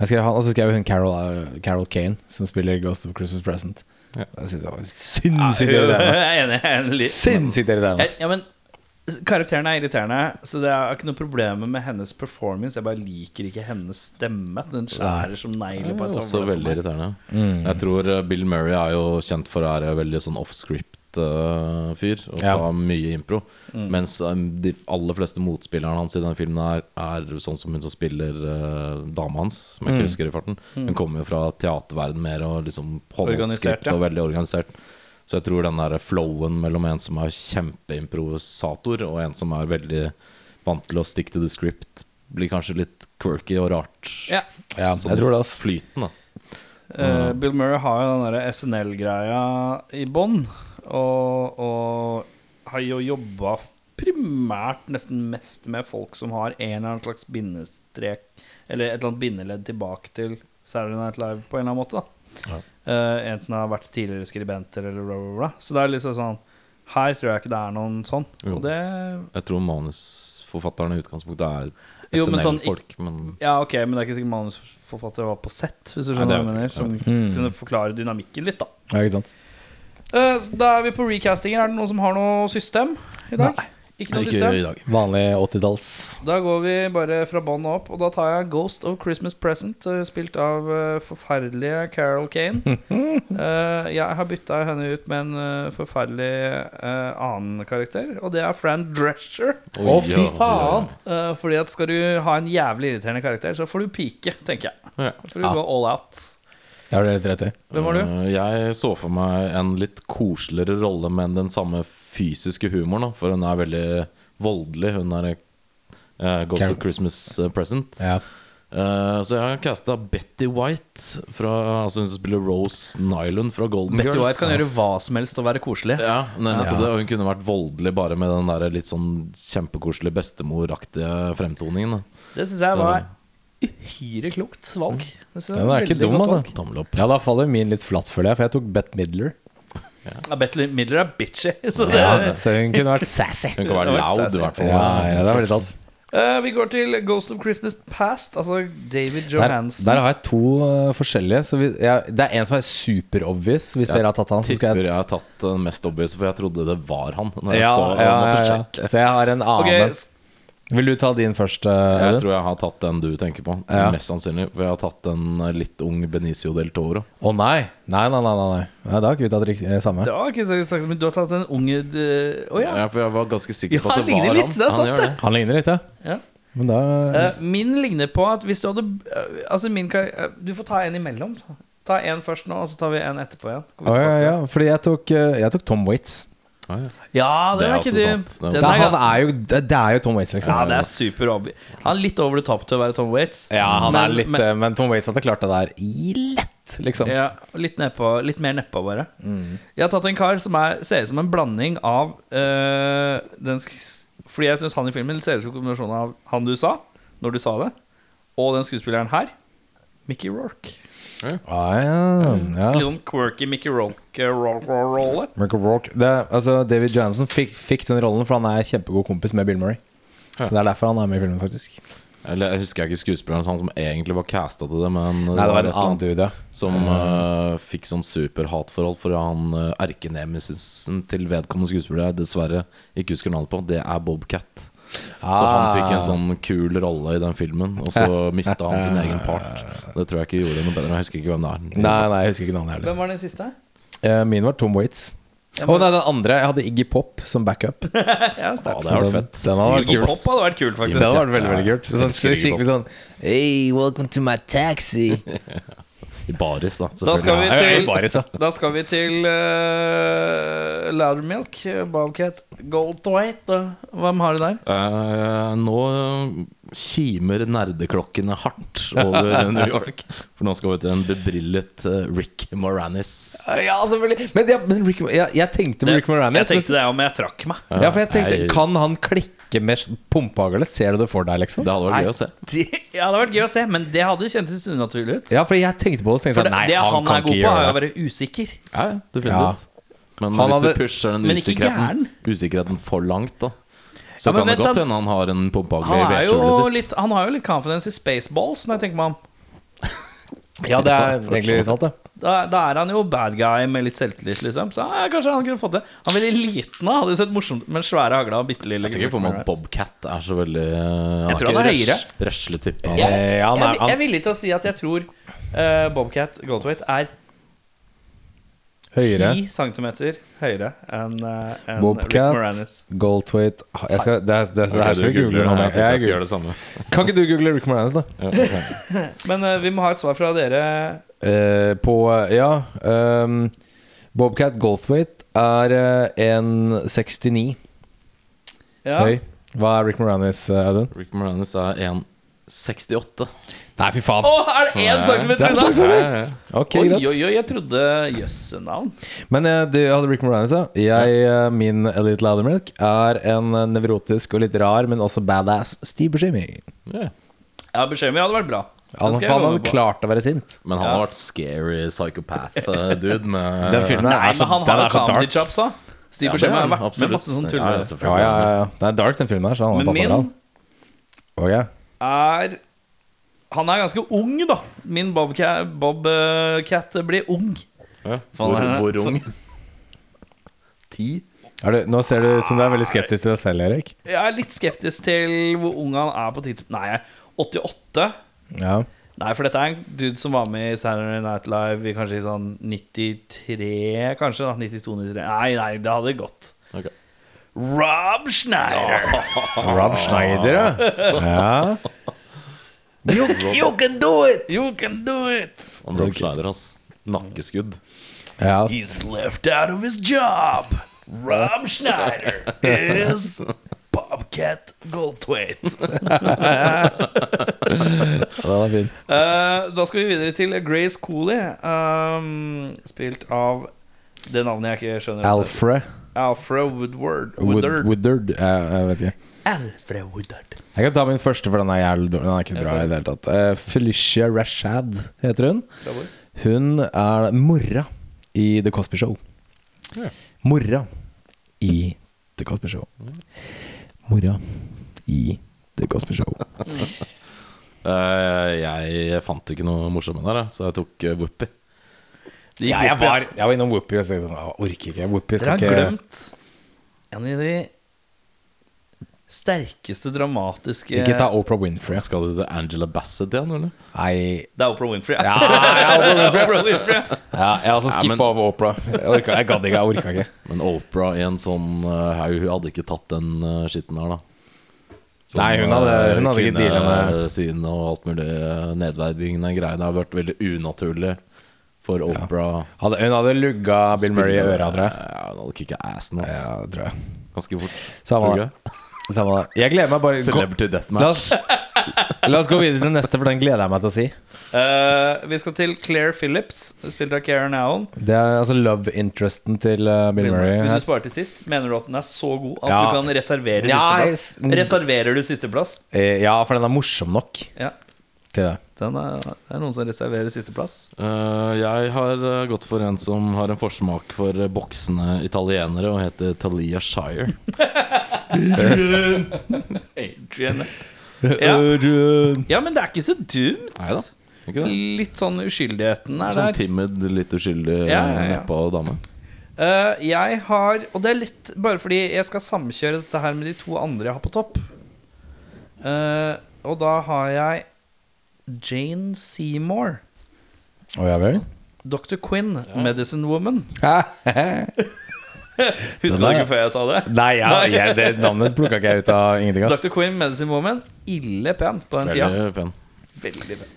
Jeg skrev, han- og så skrev hun Carol, eh, Carol Kane, som spiller Ghost of Christmas Present. Ja. Jeg syns det var Jeg sinnssykt irriterende. er enig. Jeg er enig. Sinnssykt irriterende. Jeg- Ja, men Karakteren er irriterende, så det er ikke noe problem med hennes performance. Jeg bare liker ikke hennes stemme. Den skjærer som negler på Det et er også tavle for veldig meg. irriterende. Jeg tror eh, Bill Murray er jo kjent for å være veldig sånn offscript-fyr og Ja. ta mye impro. Mm. Mens eh, de aller fleste motspillerne hans i denne filmen er, er sånn som hun som spiller eh, dama hans, som jeg ikke husker i farten. Hun kommer jo fra teaterverden mer og liksom holder Mm. Organisert, skript ja. og veldig organisert. Så Så jeg tror den der flowen mellom en som er kjempeimprovisator, og en som er veldig vant til å stick to the script, blir kanskje litt quirky og rart. Ja. Ja, jeg tror det, ass. Flyten, da. Sånn, Eh, Bill Murray har jo den der SNL-greia i bånn, og, og har jo jobba primært nesten mest med folk som har en eller annen slags bindestrek Eller et eller annet bindeledd tilbake til Saturday Night Live på en eller annen måte. da Eh, Enten har vært tidligere skribenter eller bla, bla, bla. Så det er liksom sånn Her tror jeg ikke det er noen sånn. Jo. Og det Jeg tror manusforfatterne i utgangspunktet er Jo, men sånn- SNL-folk, men Ja, ok, men det er ikke sikkert manusforfattere var på sett, hvis du Nei, det Mm. skjønner hva jeg vet mener. Som kunne forklare dynamikken litt, da. Mm. Ja, ikke sant? Eh, så Da er vi på recastingen. Er det noen som har noe system i dag? Nei. Ikke noe ikke i system? dag. Vanlig 80-talls. Da går vi bare fra bånn og opp, og da tar jeg Ghost of Christmas Present, eh, spilt av eh, forferdelige Carol Kane. Eh, jeg har bytta henne ut med en eh, forferdelig eh, annen karakter, og det er Fran Drescher. Oi, Å, fy ja, ja, faen! Eh, fordi at skal du ha en jævlig irriterende karakter, så får du pike, tenker jeg. Ja. Da får du Ja. gå all out. Det har du helt rett i. Hvem var du? Eh, Jeg så for meg en litt koseligere rolle, men den samme fysiske humoren. Da, for hun er veldig voldelig, hun er eh, Ghost Karen. of Christmas eh, Present. Ja. Eh, så jeg har casta Betty White, fra, altså hun som spiller Rose Nylon fra Golden Betty Girls. White kan gjøre hva som helst og være koselig. ja, nei, nettopp det, og Hun kunne vært voldelig bare med den der litt sånn kjempekoselige bestemoraktige fremtoningen. Da. Det syns jeg Så- var uhyre klokt valg. Det synes jeg Mm. Den var er ikke veldig dum, godt valg. altså. Tommel opp. Ja, da faller min litt flatt, føler jeg, for jeg tok Bett Midler. Ja, Bette Midler er bitchy. Så det Ja, så hun kunne vært sassy. Hun kan Det var være litt loud, sassy. i hvert fall. Ja, ja, det er veldig sant. Eh, vi går til Ghost of Christmas Past, altså David Der, Johansen. der har jeg to eh, forskjellige. Så vi, jeg, det er en som er superobvious, hvis dere har tatt han. Så skal Tipper jeg, jeg har tatt den mest obvious, for jeg trodde det var han. Når jeg ja, så, ja, måtte ja, sjekke. ja. Så jeg har en Ok, annen. s- Vil du ta din først, eh, Jeg Audun? tror jeg har tatt den du tenker på. Ja. Mest sannsynlig. For jeg har tatt en eh, litt ung Benicio del Toro. Å nei. Nei, nei, nei. nei, nei. nei da har ikke vi tatt riktig, eh, samme. det var ikke det jeg snakket om, men du har tatt en unge eh, Å ja. Ja, for jeg var ganske sikker Ja, på at han det var ligner litt, han. det er sant han gjør det. det. Han ligner litt, ja. ja. Men da Eh, min ligner på at hvis du hadde eh, Altså min kar eh, Du får ta en imellom. Ta en først nå, og så tar vi en etterpå igjen. Kommer Å, vi ja, tilbake til ja. Fordi jeg tok, eh, jeg tok Tom Waits. Ja, ja. det. ja, den Det er er ikke også dum. sant. Det Den er Det er, han gan- er jo, det det er jo Tom Waits, liksom. ja, det er super obvi. Han er litt over the top til å være Tom Waits. Ja, han er Men- litt, men, eh, men Tom Waits hadde klart det der i lett, liksom. ja, litt, nedpå, litt mer nedpå, bare. Mm. Jeg har tatt en kar som er, ser ut som en blanding av øh, den, sk- Fordi jeg syns han i filmen ser ut som en kombinasjon av han du sa, når du sa det, og den skuespilleren her. Mickey Rourke. Ah, ja, Litt ja. sånn quirky Mickey Rourke-rolle. Michael Rourke. Det, altså, David Johansen fikk, fikk den rollen, for han er kjempegod kompis med Bill Murray. Så Det er derfor han er med i filmen, faktisk. Eller jeg husker ikke skuespilleren han som egentlig var casta til det, men Nei, det var et en eller annen annet dude, ja. som eh, fikk sånn superhatforhold for han eh, erkenemesisen til vedkommende skuespiller jeg dessverre ikke husker navnet på. Det er Bobcat. Så Ah. han fikk en sånn kul rolle i den filmen, og så mista han sin egen part. Det tror jeg ikke gjorde noe bedre. Jeg husker ikke hvem det er. Nei, nei, jeg husker ikke navnet heller. Hvem var den siste? Eh, Min var Tom Waits. Å nei, den andre. Jeg hadde Iggy Pop som backup. Ja, sterkt. Ja, det hadde vært Den- fett. Den hadde vært Iggy kult. Pop hadde vært kult, Det faktisk. hadde vært veldig, veldig kult. Ja, Sånn, elsker Iggy Pop. skikkelig sånn Hey, welcome to my taxi. I baris, da. Da skal vi Ja, jeg er til, jo baris, ja. da skal vi til uh, Loudermilk, Bobcat, Goldthwait. Hvem har du der? Eh, nå kimer nerdeklokkene hardt over New York. For nå skal vi til en bebrillet eh, Rick Moranis. Ja, selvfølgelig. Men, ja, men Rick, jeg, jeg tenkte på Rick Moranis. Jeg men- tenkte det, ja, men jeg trakk meg. Ja, for jeg tenkte, Nei. kan han klikke med pumpehagle? Ser du det for deg, liksom? Det hadde vært Nei. gøy å se. Det ja, det hadde vært gøy å se, men det hadde kjentes unaturlig ut. Ja, for jeg tenkte på det. og Tenkte, For sånn, det, nei, det han, han, kan er god ikke på, er å gjøre det. være usikker. Ja, ja, Ja. definitivt. Men Han hvis hadde- du pusher den Men ikke usikkerheten, gæren. usikkerheten for langt, da så Ja, men kan det vent godt da. hende han har en pumpehagle i liksom. Han, er vedskjulet jo sitt. litt, han har jo litt confidence i spaceballs, når jeg tenker meg om. Ja, det er egentlig sant, det. Da, da er han jo bad guy med litt selvtillit, liksom. Så ja, kanskje han kunne fått det. Han er veldig liten, da. hadde jo sett morsomt ut med svære hagla og bitte lille Jeg er sikker på meg at Bobcat er så veldig eh, Jeg tror han er ikke høyere. røs- Røsletype. Han Jeg, er- Eh, ja, han er- jeg, han- jeg er villig til å si at jeg tror eh, Bobcat Goldthwait er Høyere. 10 cm høyere enn eh, enn Rick Bobcat, Moranis. Goldtwait jeg skal, det, er- det, er- det her Ok, skal vi du google googler nå. den, men Jeg tenkte jeg Jeg skulle googler. gjøre det samme. Kan ikke du google Rick Moranis, da? Men eh, vi må ha et svar fra dere. Eh, på Ja. ehm, eh, Bobcat Goldthwait er eh, 1,69 Ja. høy. Hva er Rick Moranis, eh, Audun? Rick Moranis er 1,68. Nei, fy faen! Å, er det én Det centimeter er unna? sant. Ja, ja, ja. Ok, Oi, greit. oi, oi, jeg trodde Jøsse navn. Men eh, du hadde Rick Moranis, ja. Jeg, eh, min Elliot Loudermilk er en eh, nevrotisk og litt rar, men også badass Steve Buscemi. Ja. Ja, Beskjeden min hadde vært bra. Den Han, skal jeg han love hadde på. klart å være sint. Men han har vært scary psychopath-dude med Den filmen Nei, der er så, men han den har jo er så comedy dark. chops, da. Steve Ja, det Buscemi er har han, vært med absolutt. masse sånne Ja, ja, tuller. Ja, selvfølgelig. ja, ja. Det er dark, den filmen her. Så han Men passer bra. min Ok. er Han er ganske ung, da. Min Bobcat Bob, eh, Cat blir ung. Ja. Faen, Hvor, han er- hvor ung? Ti? Er du, nå ser du ut som du er veldig skeptisk til deg selv, Erik. Jeg er litt skeptisk til hvor ung han er på tidspunkt. Nei, 88. Ja. Nei, for dette er en dude som var med i Saturday Night Live i kanskje i sånn 93, kanskje? da, 92-93. Nei, nei, det hadde gått. Ok. Rob Schneider! Ah. Rob Schneider, ja. You, can do it! You can do it! Han Rob Schneider, ass. Nakkeskudd. Ja. He's left out of his job. Rob Schneider is Bobcat Goldthwait. Den er fin. Eh, da skal vi videre til Grace Cooley, ehm, spilt av det navnet jeg ikke skjønner. Alfred Alfred Woodward. Wood, Woodard. Woodard. Jeg, jeg vet ikke. Alfred Woodard. Jeg kan ta min første, for den er jævlig dårlig. Den er ikke bra i det hele tatt. Eh, Felicia Rashad heter hun. Bravo. Hun er mora i The Cosby Show. Mora i The Cosby Show. Mora i The Cosby Show. Eh, jeg fant ikke noe morsomt med det, her, så jeg tok eh, Whoopi. Det gikk Ja, jeg, opp, var, ja. jeg var innom Whoopi og så tenkte jeg sånn, «Å, orker ikke. Whoopi Dere skal har ikke glemt en av de sterkeste dramatiske Ikke ta Oprah Winfrey. Skal du til Angela Bassett igjen, eller? Nei Det er Oprah Winfrey. Ja, ja, Oprah Winfrey. Oprah Winfrey. ja jeg har Ja, altså skippa men- over Oprah. Jeg, orka, jeg gadd ikke. Jeg orka ikke. Men Oprah i en sånn eh, haug, hun hadde ikke tatt den eh, skitten her, da. Nei, hun hadde- hun hadde ikke dealet med- Kvinnesyn og alt mulig eh, nedverdigende greier. Det har vært veldig unaturlig for Oprah. Hadde, hun hadde lugga Bill Murray i øra, tror jeg. Ja, hun hadde kicka assen, ass. Ja, tror jeg. Ganske fort. Samme Tror du det. ikke? Samme det. Jeg gleder meg bare Celebrity La Deathmatch. oss, la oss gå videre til neste, for den gleder jeg meg til å si. Eh, vi skal til Claire Phillips, spilt av Karen Allen. Det er altså love interesten til eh, Bill Murray. Vil du Her. spare til sist? Mener du at den er så god at Ja. du kan reservere Ja, sisteplass? jeg- Reserverer du sisteplass? Eh, Ja, for den er morsom nok Ja. til det. Den er, det er noen som reserverer sisteplass. Eh, jeg har eh, gått for en som har en forsmak for eh, boksende italienere, og heter Talia Shire. Adrian. Ja. Adrian. ja, men det er ikke så dumt. Neida, Ikke det? Litt sånn uskyldigheten er Sånn der. timid, litt uskyldig Ja, ja, ja. neppa dame. Eh, jeg har Og det er litt bare fordi jeg skal samkjøre dette her med de to andre jeg har på topp. Eh, og da har jeg Jane Seymour, Å ja vel? Dr. Quinn, Medicine Woman. Nei, Husker du Den er- ikke før jeg sa det? ja, jeg, det navnet plukka ikke jeg ut av ingenting. Ass. Dr. Quinn, Medicine Woman. Ille pen på den tida. Veldig pen. Veldig pen.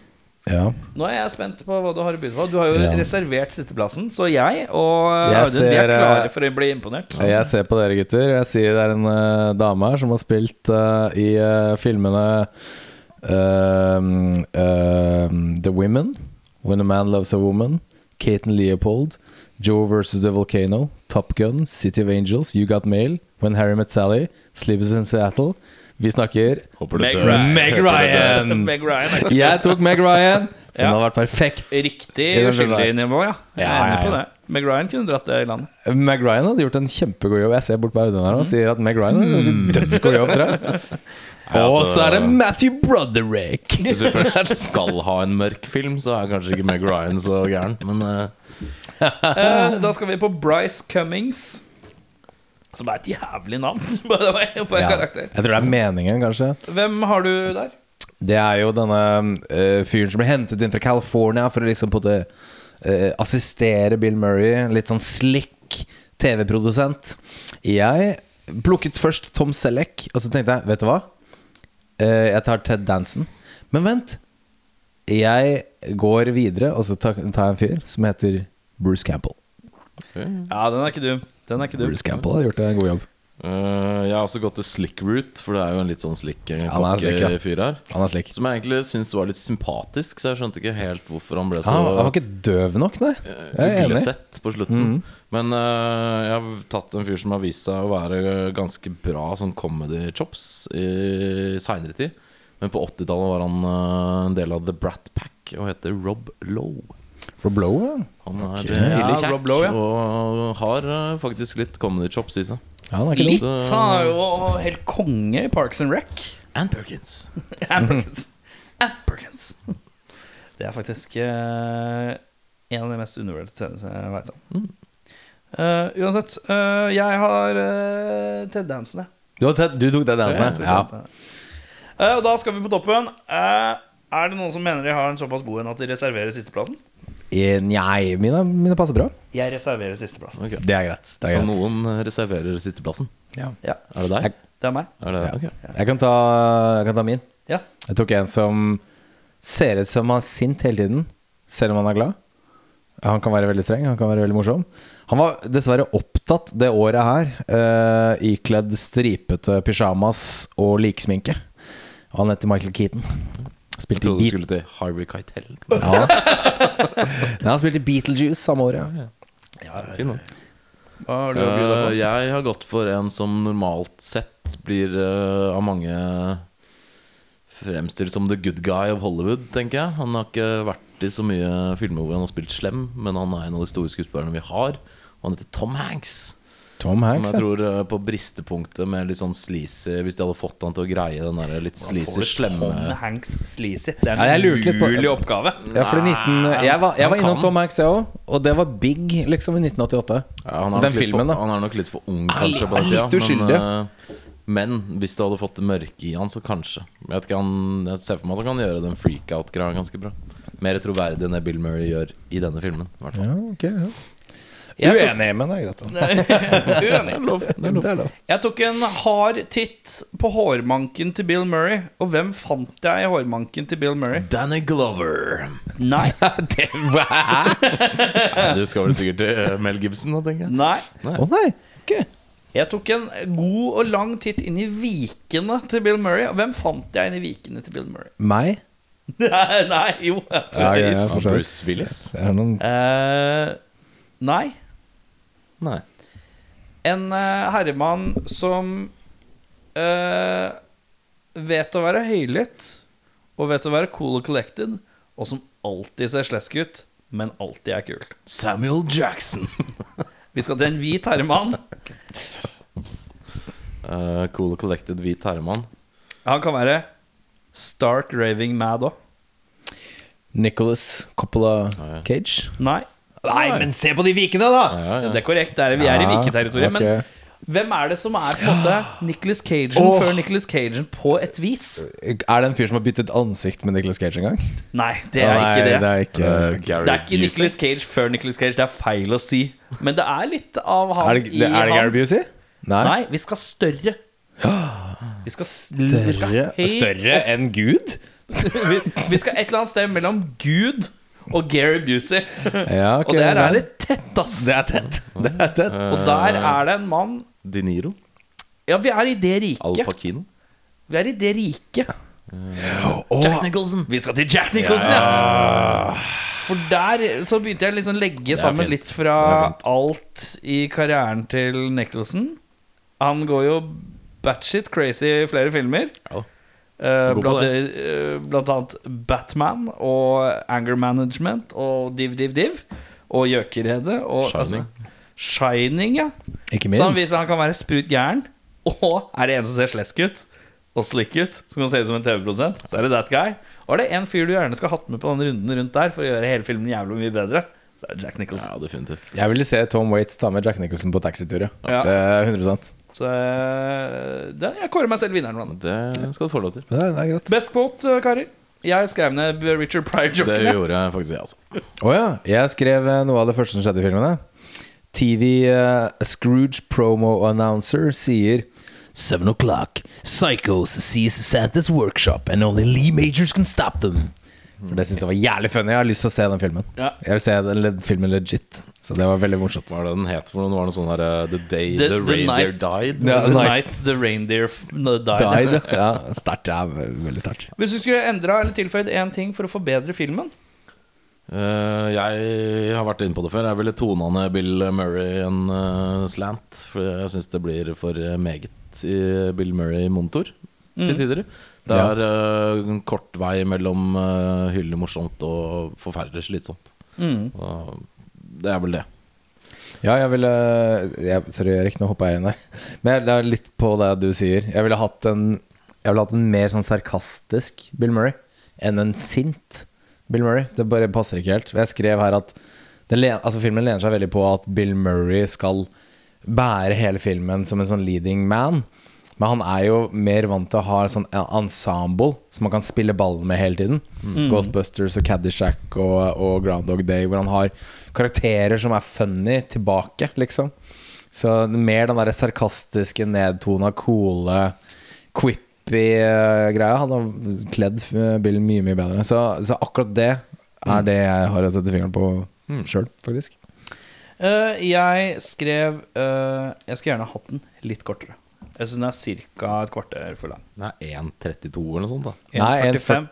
Ja. Nå er jeg spent på hva du har å by på. Du har jo Ja. reservert sisteplassen, så jeg og Jeg Audun vi ser, er klare eh, for å bli imponert. Jeg ser på dere, gutter. Jeg sier det er en eh, dame her som har spilt eh, i eh, filmene ehm, ehm, The Women, When a Man Loves a Woman, Kate and Leopold, Joe versus The Volcano, Top Gun, City of Angels, You Got Mail, When Harry Met Sally, Sleepers in Seattle. Vi snakker Håper du Meg dør. Ryan. Meg Ryan! Meg Ryan er Jeg tok Meg Ryan. Hun Ja. har vært perfekt. Riktig Jeg er uskyldig veldig nivå, ja. Jeg Ja, er enig ja, på ja. det. Meg Ryan kunne dratt det i landet. Meg Ryan hadde gjort en kjempegod jobb. Jeg ser bort på Audun her Mm. og sier at Meg Ryan har gjort en dødsgod jobb. Tror jeg. Ja, Og altså- så er det Matthew Broderick! Hvis du først skal ha en mørk film, så er kanskje ikke Meg Ryan så gæren. Men eh, Eh, da skal vi på Bryce Cummings. Som er et jævlig navn. Bare det var- på en Ja. karakter Jeg tror det er meningen, kanskje. Hvem har du der? Det er jo denne eh, fyren som ble hentet inn fra California for å liksom på det, eh, assistere Bill Murray. Litt sånn slick TV-produsent. Jeg plukket først Tom Selleck, og så tenkte jeg, vet du hva? Eh, jeg tar Ted Danson. Men vent! Jeg går videre, og så tar tar jeg en fyr som heter Bruce Campbell. Ja, den er ikke dum. Den er ikke dum. Bruce Campbell har gjort en god jobb. Eh, jeg har også gått til Slick Root, for det er jo en litt sånn slick eh, Han er slick, ja. kokkefyr her. Han er slik. Som jeg egentlig syntes var litt sympatisk, så jeg skjønte ikke helt hvorfor han ble så Ah, Han, han var ikke døv nok, nei. Jeg er enig. Mm. uglesett Eh, på slutten. Men eh, jeg har tatt en fyr som har vist seg å være ganske bra sånn comedy chops i seinere tid. Men på 80-tallet var han eh, en del av The Brat Pack og heter Rob Lowe. For blow, ja. Han er Ok. eh, ille Ja, kjekk Rob Lowe, ja. og har eh, faktisk litt comedy chops i seg. ja han er ikke Litt. dum. Han er jo helt konge i Parks and Rec. Ann Perkins. Ann Perkins. Mhm. Ann Perkins. Det er faktisk eh, en av de mest undervurderte scenene jeg veit om. Mhm. Eh, uansett, eh, jeg har eh, Ted Dansen, jeg. Du, har tatt- du tok den dansen? Jeg Ja. tror det. Eh, og da skal vi på toppen. Eh, er det noen som mener de har en såpass god en at de reserverer sisteplassen? Eh, Nei, mine, mine passer bra. Jeg reserverer sisteplassen. Ok. Det er greit. Det Så er greit. noen reserverer sisteplassen. Ja. Ja, Er det deg? Jeg- det er meg. Er det, Ja. ok. Jeg, kan ta, jeg kan ta min. Ja. Jeg tok en som ser ut som han er sint hele tiden, selv om han er glad. Han kan være veldig streng, han kan være veldig morsom. Han var dessverre opptatt det året her, eh, ikledd stripete pysjamas og liksminke. Han heter Michael Keaton. Jeg Spilte i trodde du Beat skulle til Harvey Keitel. ja. Nei, Han spilte i Beetlejuice samme året. Fin, da. Hva har du å by deg Eh, på? jeg har gått for en som normalt sett blir eh, av mange fremstilt som the good guy of Hollywood, tenker jeg. Han har ikke vært i så mye filmer hvor han har spilt slem, men han er en av de store skuespillerne vi har. Og han heter Tom Hanks. Tom Som Hanks. jeg ja. tror eh, på bristepunktet med litt sånn sleazy Hvis de hadde fått han til å greie den der litt sleazy, slemme Tom Hanks sleazy. Det er Ja, en jeg lurte litt på- umulig oppgave. Ja, fordi 19, jeg var, jeg han var innom kan. Tom Hanks, jeg òg, og det var big liksom i 1988. Ja, han, er Den nok litt filmen, for, da. han er nok litt for ung, Er li- kanskje. på den er litt tida, uskyldig. Men, eh, men hvis du hadde fått det mørke i han, så kanskje. Jeg, vet ikke, han, jeg ser for meg at han kan gjøre den freakout-greia ganske bra. Mer troverdig enn det Bill Murray gjør i denne filmen. i hvert fall. Ja, ok, ja. Jeg tok- Uenig, men det er greit. da. Uenig. Det er lov. Jeg tok en hard titt på hårmanken til Bill Murray. Og hvem fant jeg i hårmanken til Bill Murray? Danny Glover. Nei. Du skal vel sikkert til eh, Mel Gibson, da, tenker jeg. Nei. Å nei, ok Jeg tok en god og lang titt inn i vikene til Bill Murray. Og hvem fant jeg inn i vikene til Bill Murray? Meg? Nei, nei jo. ja, Av Bruce Willis? Det er noen Eh, nei. Nei. En eh, herremann som eh, vet å være høylytt, og vet å være cool og collected, og som alltid ser slesk ut, men alltid er kul. Samuel Jackson. Vi skal til en hvit herremann. Eh, cool and collected hvit herremann. Han kan være stark raving mad òg. Nicholas Coppola Cage. Nei, Nei, men se på de vikene, da! Ja, ja. det er korrekt. Det er, vi er i Ja, viketerritoriet. ok. Men hvem er det som er på en måte Nicholas Cajun Åh. før Nicholas Cajun på et vis? Er det en fyr som har byttet ansikt med Nicholas Cage en gang? Nei, det er Nei, ikke det. det er ikke Eh, Gary Det er ikke Busey. Nicolas Cage før Nicolas Cage. Det er feil å si. Men det er litt av han Er det, det, er i det Gary han. Busey? Nei. Nei, vi skal større. Vi skal, større. Vi skal, høyt Større enn Gud? opp. Vi, vi skal et eller annet sted mellom Gud og Gary Busey. Ja, ok, og der nei. er det tett, ass. Det er tett. Det er tett. og der er det en mann De Niro. Ja, vi er i det Al riket. Pacino. Vi er i det riket. Jack Nicholson. Vi skal til Jack Nicholson, ja! For der så begynte jeg liksom legge er sammen fint. litt Det er fra fint. alt i karrieren til Nicholson. Han går jo batshit crazy i flere filmer. Ja. Eh, God på blant, eh, blant annet Batman og Anger Management og Div Div Div. Og Gjøkeredet. Og, Shining. Altså, Shining, ja. Ikke Så han viser minst. at Sånn, han kan være sprut gæren. Og er det en som ser slesk ut og slik ut, som kan se ut som en TV-produsent, så er det that guy. Og er det en fyr du gjerne skal hatt med på den runden rundt der for å gjøre hele filmen jævlig mye bedre, så er det Jack Nicholson. Ja, definitivt. Jeg ville se Tom Waits ta med Jack Nicholson på taxituret. Ja. Det er 100 Så eh, det, jeg kårer meg selv vinneren. blant annet. Det skal du få lov til. Det er, det er greit. Best quote, eh, karer. Jeg skrev ned Richard Det Pryor-jokene. gjorde jeg faktisk, jeg, altså. Å ja. Jeg skrev eh, noe av det første som skjedde i filmen. jeg. TV eh, Scrooge promo announcer sier Seven o'clock. Psychos seize Santa's workshop, and only Lee Majors can stop them. For Det syns jeg var jævlig funny. Jeg har lyst til å se den filmen. Ja. Jeg vil se den le- filmen legit. Så det var veldig morsomt. Hva er det den het for noe? Det var noe sånn der eh, The Day The- The, the Reindeer night- Died? Eh, Ja, The night. night the reindeer f- no, died. Died, ja. Sterkt. Ja, ve- veldig sterkt. Hvis du skulle endra eller tilføyd én ting for å forbedre filmen Eh, jeg har vært inne på det før. Jeg ville tona ned Bill Murray en eh, slant. For jeg syns det blir for eh, meget i Bill Murray-monitor til tider. Det Ja. er eh, en kort vei mellom uh, hyllende morsomt og forferdelig slitsomt. Og det er vel det. Ja, jeg ville jeg, Sorry, Erik, nå hoppa jeg inn der. Men jeg- det er litt på det du sier. Jeg ville hatt en Jeg ville hatt en mer sånn sarkastisk Bill Murray enn en sint Bill Murray. Det bare passer ikke helt. Jeg skrev her at den, len- altså filmen lener seg veldig på at Bill Murray skal bære hele filmen som en sånn leading man. Men han er jo mer vant til å ha et sånn ensemble som han kan spille ballen med hele tiden. Ghostbusters og Caddyshack og, og Groundhog Day, hvor han har karakterer som er funny tilbake, liksom. Så mer den der sarkastiske, nedtona, coole, quippy eh, greia. Han har kledd eh, Bill mye, mye bedre. Så, så akkurat det er det jeg har å sette fingeren på sjøl, faktisk. Eh, Jeg skrev eh, Jeg skulle gjerne hatt den litt kortere. Jeg syns den er ca. et kvarter for lang. Det er 1,32 eller noe sånt. da Nei, 1,45.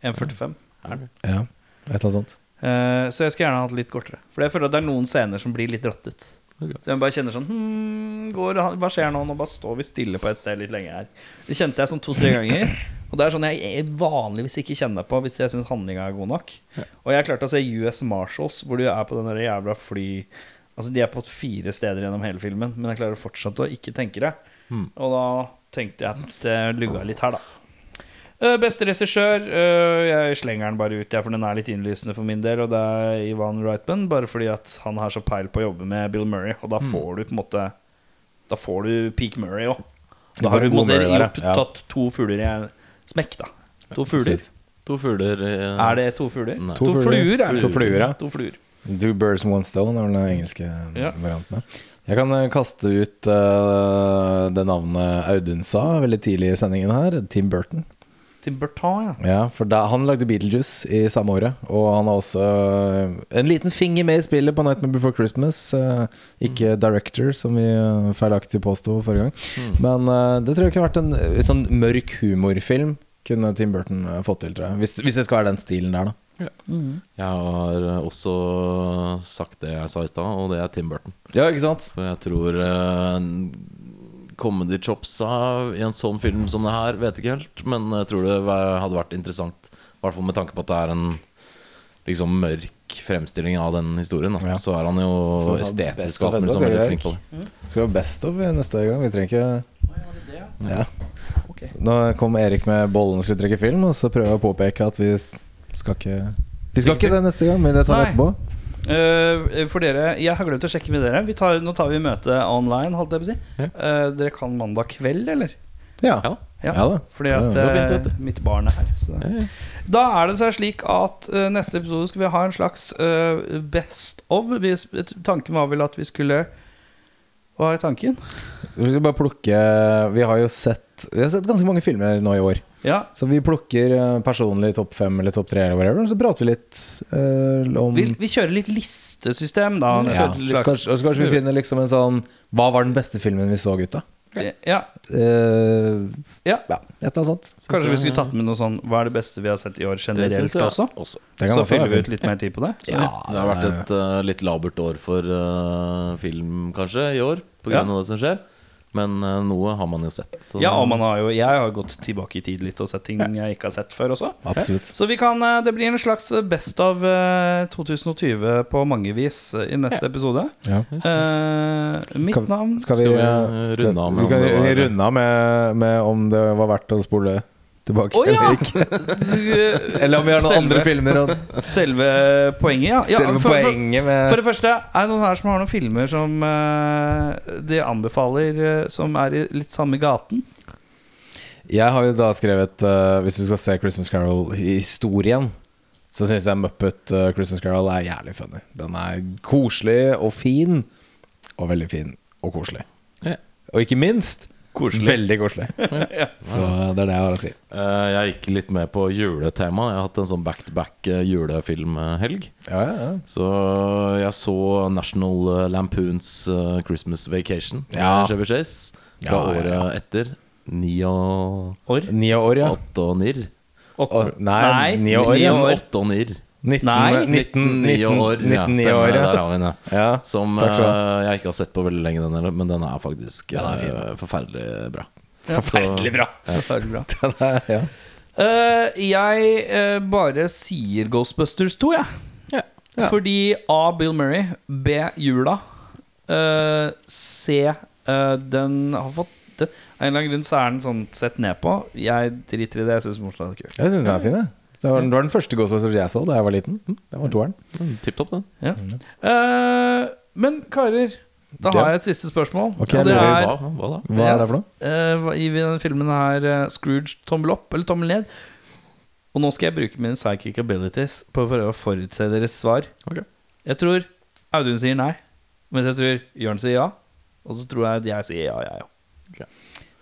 1,40 1,45. Ja, et eller annet sånt. Eh, så jeg skulle gjerne hatt litt kortere. For jeg føler at det er noen scener som blir litt dratt ut. Så jeg bare kjenner sånn hmm, går, han- Hva skjer nå? Nå bare står vi stille på et sted litt lenge her. Det kjente jeg sånn to-tre ganger. Og det er sånn jeg jeg vanligvis ikke kjenner på hvis jeg syns handlinga er god nok. Og jeg klarte å se US Marshals, hvor du er på den der jævla fly Altså De er på fire steder gjennom hele filmen, men jeg klarer fortsatt å ikke tenke det. Og da tenkte jeg at det lugga litt her, da. Eh, Beste regissør eh, Jeg slenger den bare ut, jeg, for den er litt innlysende for min del. Og det er Ivan Reitman, bare fordi at han har så peil på å jobbe med Bill Murray. Og Mm. da får du på en måte Da får du Peak Murray òg. Da Da har får du du på en måte god Murray der, gjort, ja. tatt to fugler i en smekk, da. To fugler. Absolutt. To fugler Er det to fugler? Nei. To, fluer, er det. To fluer, ja. To fluer. Two birds and one stone er vel den engelske Ja. varianten. ja. Jeg kan eh, kaste ut eh, det navnet Audun sa veldig tidlig i sendingen her. Tim Burton. Tim Burton, ja. Ja, for da, Han lagde Beetlejuice i samme året. Og han har også eh, en liten finger med i spillet på Nightmare Before Christmas. eh, ikke director, som vi eh, feilaktig påsto forrige gang. Mm. Men eh, det tror jeg kunne vært en eh, sånn mørk humorfilm. Kunne Tim Burton eh, fått til, tror jeg. Hvis, hvis det skal være den stilen der, da. Mm. Jeg har eh, også sagt det jeg sa i stad, og det er Tim Burton. Ja, ikke sant? For jeg tror eh, comedy chopsa i en sånn film som det her, vet ikke helt. Men jeg tror det var, hadde vært interessant, i hvert fall med tanke på at det er en liksom mørk fremstilling av den historien. Da. Ja. Så er han jo Så han har best estetisk av og alt mulig enda, sånn sier veldig Erik. flink på det. Skal ha best of neste gang. Vi trenger ikke ja. Så Nå kom Erik med bollen og skulle trekke film, og så prøver jeg å påpeke at vi s- skal ikke Vi skal ikke det neste gang, men det tar vi Nei. etterpå. Eh, for dere, jeg har glemt å sjekke med dere. Vi tar, nå tar vi møte online, holdt jeg på å si. Ja. Eh, dere kan mandag kveld, eller? Ja. Ja. Ja, Ja da. fordi Ja, at det går fint, eh, vet mitt barn er her. Så. Ja, ja. Da er det så slik at eh, neste episode skal vi ha en slags eh, best of. Vi, tanken var vel at vi skulle Hva er tanken? Så Vi skal bare plukke Vi har jo sett Vi har sett ganske mange filmer nå i år. Ja, Så vi plukker eh, personlig topp fem eller topp tre, eller whatever, så prater vi litt eh, om vi, vi kjører litt listesystem, da. ja. neste Så slags- kanskje, og så kanskje vi finner liksom en sånn Hva var den beste filmen vi så, gutta? ja, Eh, Ja. ja, et eller annet sånt. Kanskje vi jeg- skulle tatt med noe sånn Hva er det beste vi har sett i år Det generelt syns jeg også? også. også. Det kan Så også være fyller vi ut fint. litt mer tid på det. Så- Ja, Det har vært et eh, litt labert år for eh, film, kanskje, i år, pga. Ja. grunn av det som skjer. Men eh, noe har man jo sett. så- Ja, og man har jo, jeg har gått tilbake i tid litt og sett ting jeg ikke har sett før også. Absolutt. Så vi kan, eh, det blir en slags best av eh, 2020 på mange vis eh, i neste episode. Ja. Eh, mitt Skal vi- navn Skal vi, Skal vi, eh, eh, skal, runde av med vi om det kan var- runde av med, med om det var verdt å spole tilbake? Å ja! eller ikke? Eller om vi har noen andre filmer. Og, Selve poenget, ja. ja selve for, for, poenget med for det første, er det noen her som har noen filmer som eh, de anbefaler eh, som er i litt samme gaten? Jeg har jo da skrevet eh, Hvis du skal se Christmas Carol-historien, så syns jeg Muppet eh, Christmas Carol er jævlig funny. Den er koselig og fin, og veldig fin og koselig. Ja. Og ikke minst Koselig. Veldig koselig. Så det er det jeg har å si. Eh, jeg gikk litt med på juletema. Jeg har hatt en sånn back-to-back eh, julefilmhelg. Ja, ja, ja. Så jeg så National Lampoons eh, Christmas Vacation med Ja. Chevy Chase fra Ja, ja, året ja. etter. Ni og År? Ni år, ja. åtte og nirr. Åtte. Å, nei, ni år, ni ja. Ni og år. Åtte og nirr. 19, Nei, 19, 19 år. 19, 19, Ja, stemmer år, det. Der ja. har vi den. ja. Ja, Som takk skal du ha. eh, jeg ikke har sett på veldig lenge, den heller, men den er faktisk Ja, den er fin, eh, forferdelig bra. Forferdelig bra. Veldig bra. ja. Eh, jeg eh, bare sier Ghostbusters 2, jeg. Ja. Fordi A. Bill Murray. B. Jula. eh, C. eh, den har fått den, Av en eller annen grunn så er den sånn sett ned på. Jeg driter i det. Jeg syns morsomt er kult. Jeg syns den er fin, jeg. Så Det var, det var den første Ghostbusters jeg så da jeg var liten. Det var toeren. Tipp topp, den. Ja. Eh, men karer, da Mm. Ja. har jeg et siste spørsmål. Ok, og det lurer er Hva, hva da? Hva Ja. er det for noe? eh, hva- i denne filmen her eh, Scrooge tommel opp eller tommel ned. Og nå skal jeg bruke mine psychic abilities på å prøve å forutse deres svar. Ok. Jeg tror Audun sier nei, mens jeg tror Jørn sier ja. Og så tror jeg at jeg sier ja, jeg òg.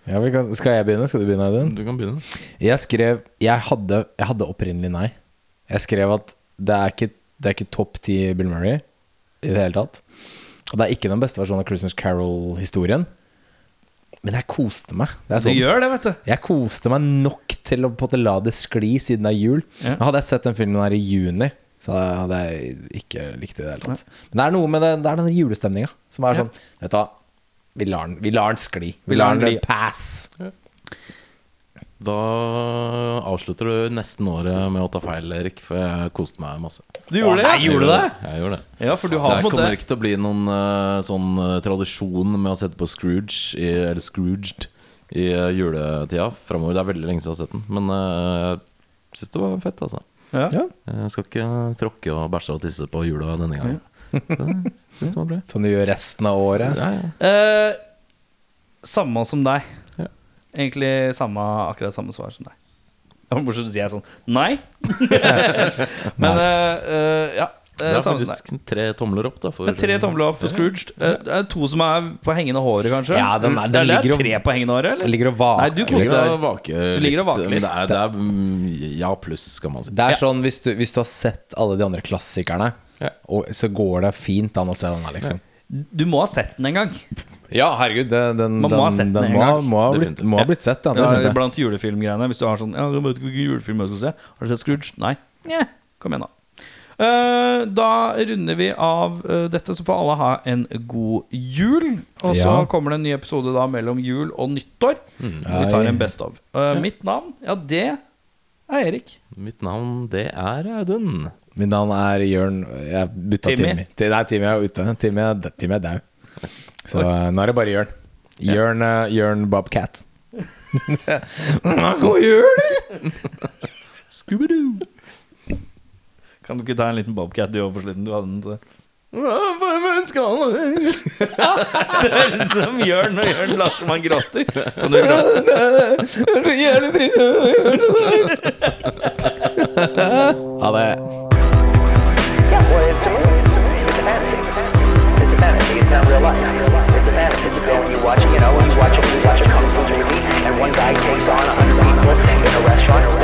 Ja, vi kan, skal jeg begynne? Skal du begynne, Audun? Du kan begynne. Jeg skrev Jeg hadde, jeg hadde opprinnelig nei. Jeg skrev at det er ikke, det er ikke topp ti Bill Murray i det hele tatt. Og det er ikke den beste versjonen av Christmas Carol-historien. Men jeg koste meg. Det er Du sånn. gjør det, vet du. Jeg koste meg nok til å på en måte la det skli siden det er jul. Ja. Hadde jeg sett den filmen her i juni, så hadde jeg ikke likt det i det hele tatt. Men det er noe med det, det er denne julestemninga som er Ja. sånn Vet du hva, vi lar den, vi lar den skli. Vi, Vi lar lar den den pass. Da avslutter du nesten året med å ta feil, Erik, for jeg koste meg masse. Du gjorde det? Jeg gjorde det? Jeg gjorde det. Ja, for du har Det på en kommer måte ikke til å bli noen eh, sånn eh, tradisjon med å sette på Scrooge i, eller Scrooged i eh, juletida framover. Det er veldig lenge siden jeg har sett den, men eh, jeg syns det var fett, altså. ja. Ja. Jeg skal ikke tråkke og bæsje og tisse på jula denne gangen. Så syns det var bra. Som du gjør resten av året. Ja, ja. Eh, Samme som deg. Ja. Egentlig samme, akkurat samme svar som deg. Det var Bortsett fra å si jeg sånn nei. Men eh, eh, ja. Det eh, er samme som deg. faktisk tre tomler opp, da. For, Det er Tre tomler opp for Scrooge. Eh, Det er to som er på hengende håret, kanskje. Ja, den er- den Eller er det ligger jo- tre på hengende håret, Jeg eller? ligger og vaker. liksom. Nei, du Jeg koser ligger deg. og vaker Du ligger og vaker litt, litt. Men det er, det er mm, ja pluss, skal man si. Det er sånn, hvis du, hvis du har sett alle de andre klassikerne, Ja. og, så går det fint an å se den her, liksom. Du må ha sett den en gang. Ja, herregud. det- Den, Man må ha sett den en må, ha- gang. må, ha blitt, Definitivt. må ha blitt sett, ja. Det Ja, synes jeg. blant julefilmgreiene. Hvis du har sånn Ja, jeg vet ikke hvilken julefilm jeg skal se. Har du sett Scrooge? Nei. Nja, kom igjen, da. Eh, da runder vi av eh, dette, så får alle ha en god jul. Og så Ja. Mm. kommer det en ny episode da mellom jul og nyttår. Vi Nei. tar en Best of. Eh, Mitt navn, ja, det er Erik. Mitt navn, det er Audun. Mitt navn er Jørn Jeg bytta Timmy. Timmy. Ti- Nei, Timmy er ute. Timmy er, d- Timmy er dau. Så eh, nå er det bare Jørn. Jørn, eh, Jørn Bobcat. God jul! Scooby-Doo! Kan du ikke ta en liten Bobcat du òg på slutten? Du hadde den til Det høres ut som Jørn og Jørn later som han gråter. Kan du gråte? Ha det. Yeah, well, it's a movie. It's a movie. It's a fantasy. It's a fantasy. It's not real life. It's a fantasy. You go and you watch, you know, you watch a, you watch a kung fu movie, and one guy takes on a hundred people in a restaurant.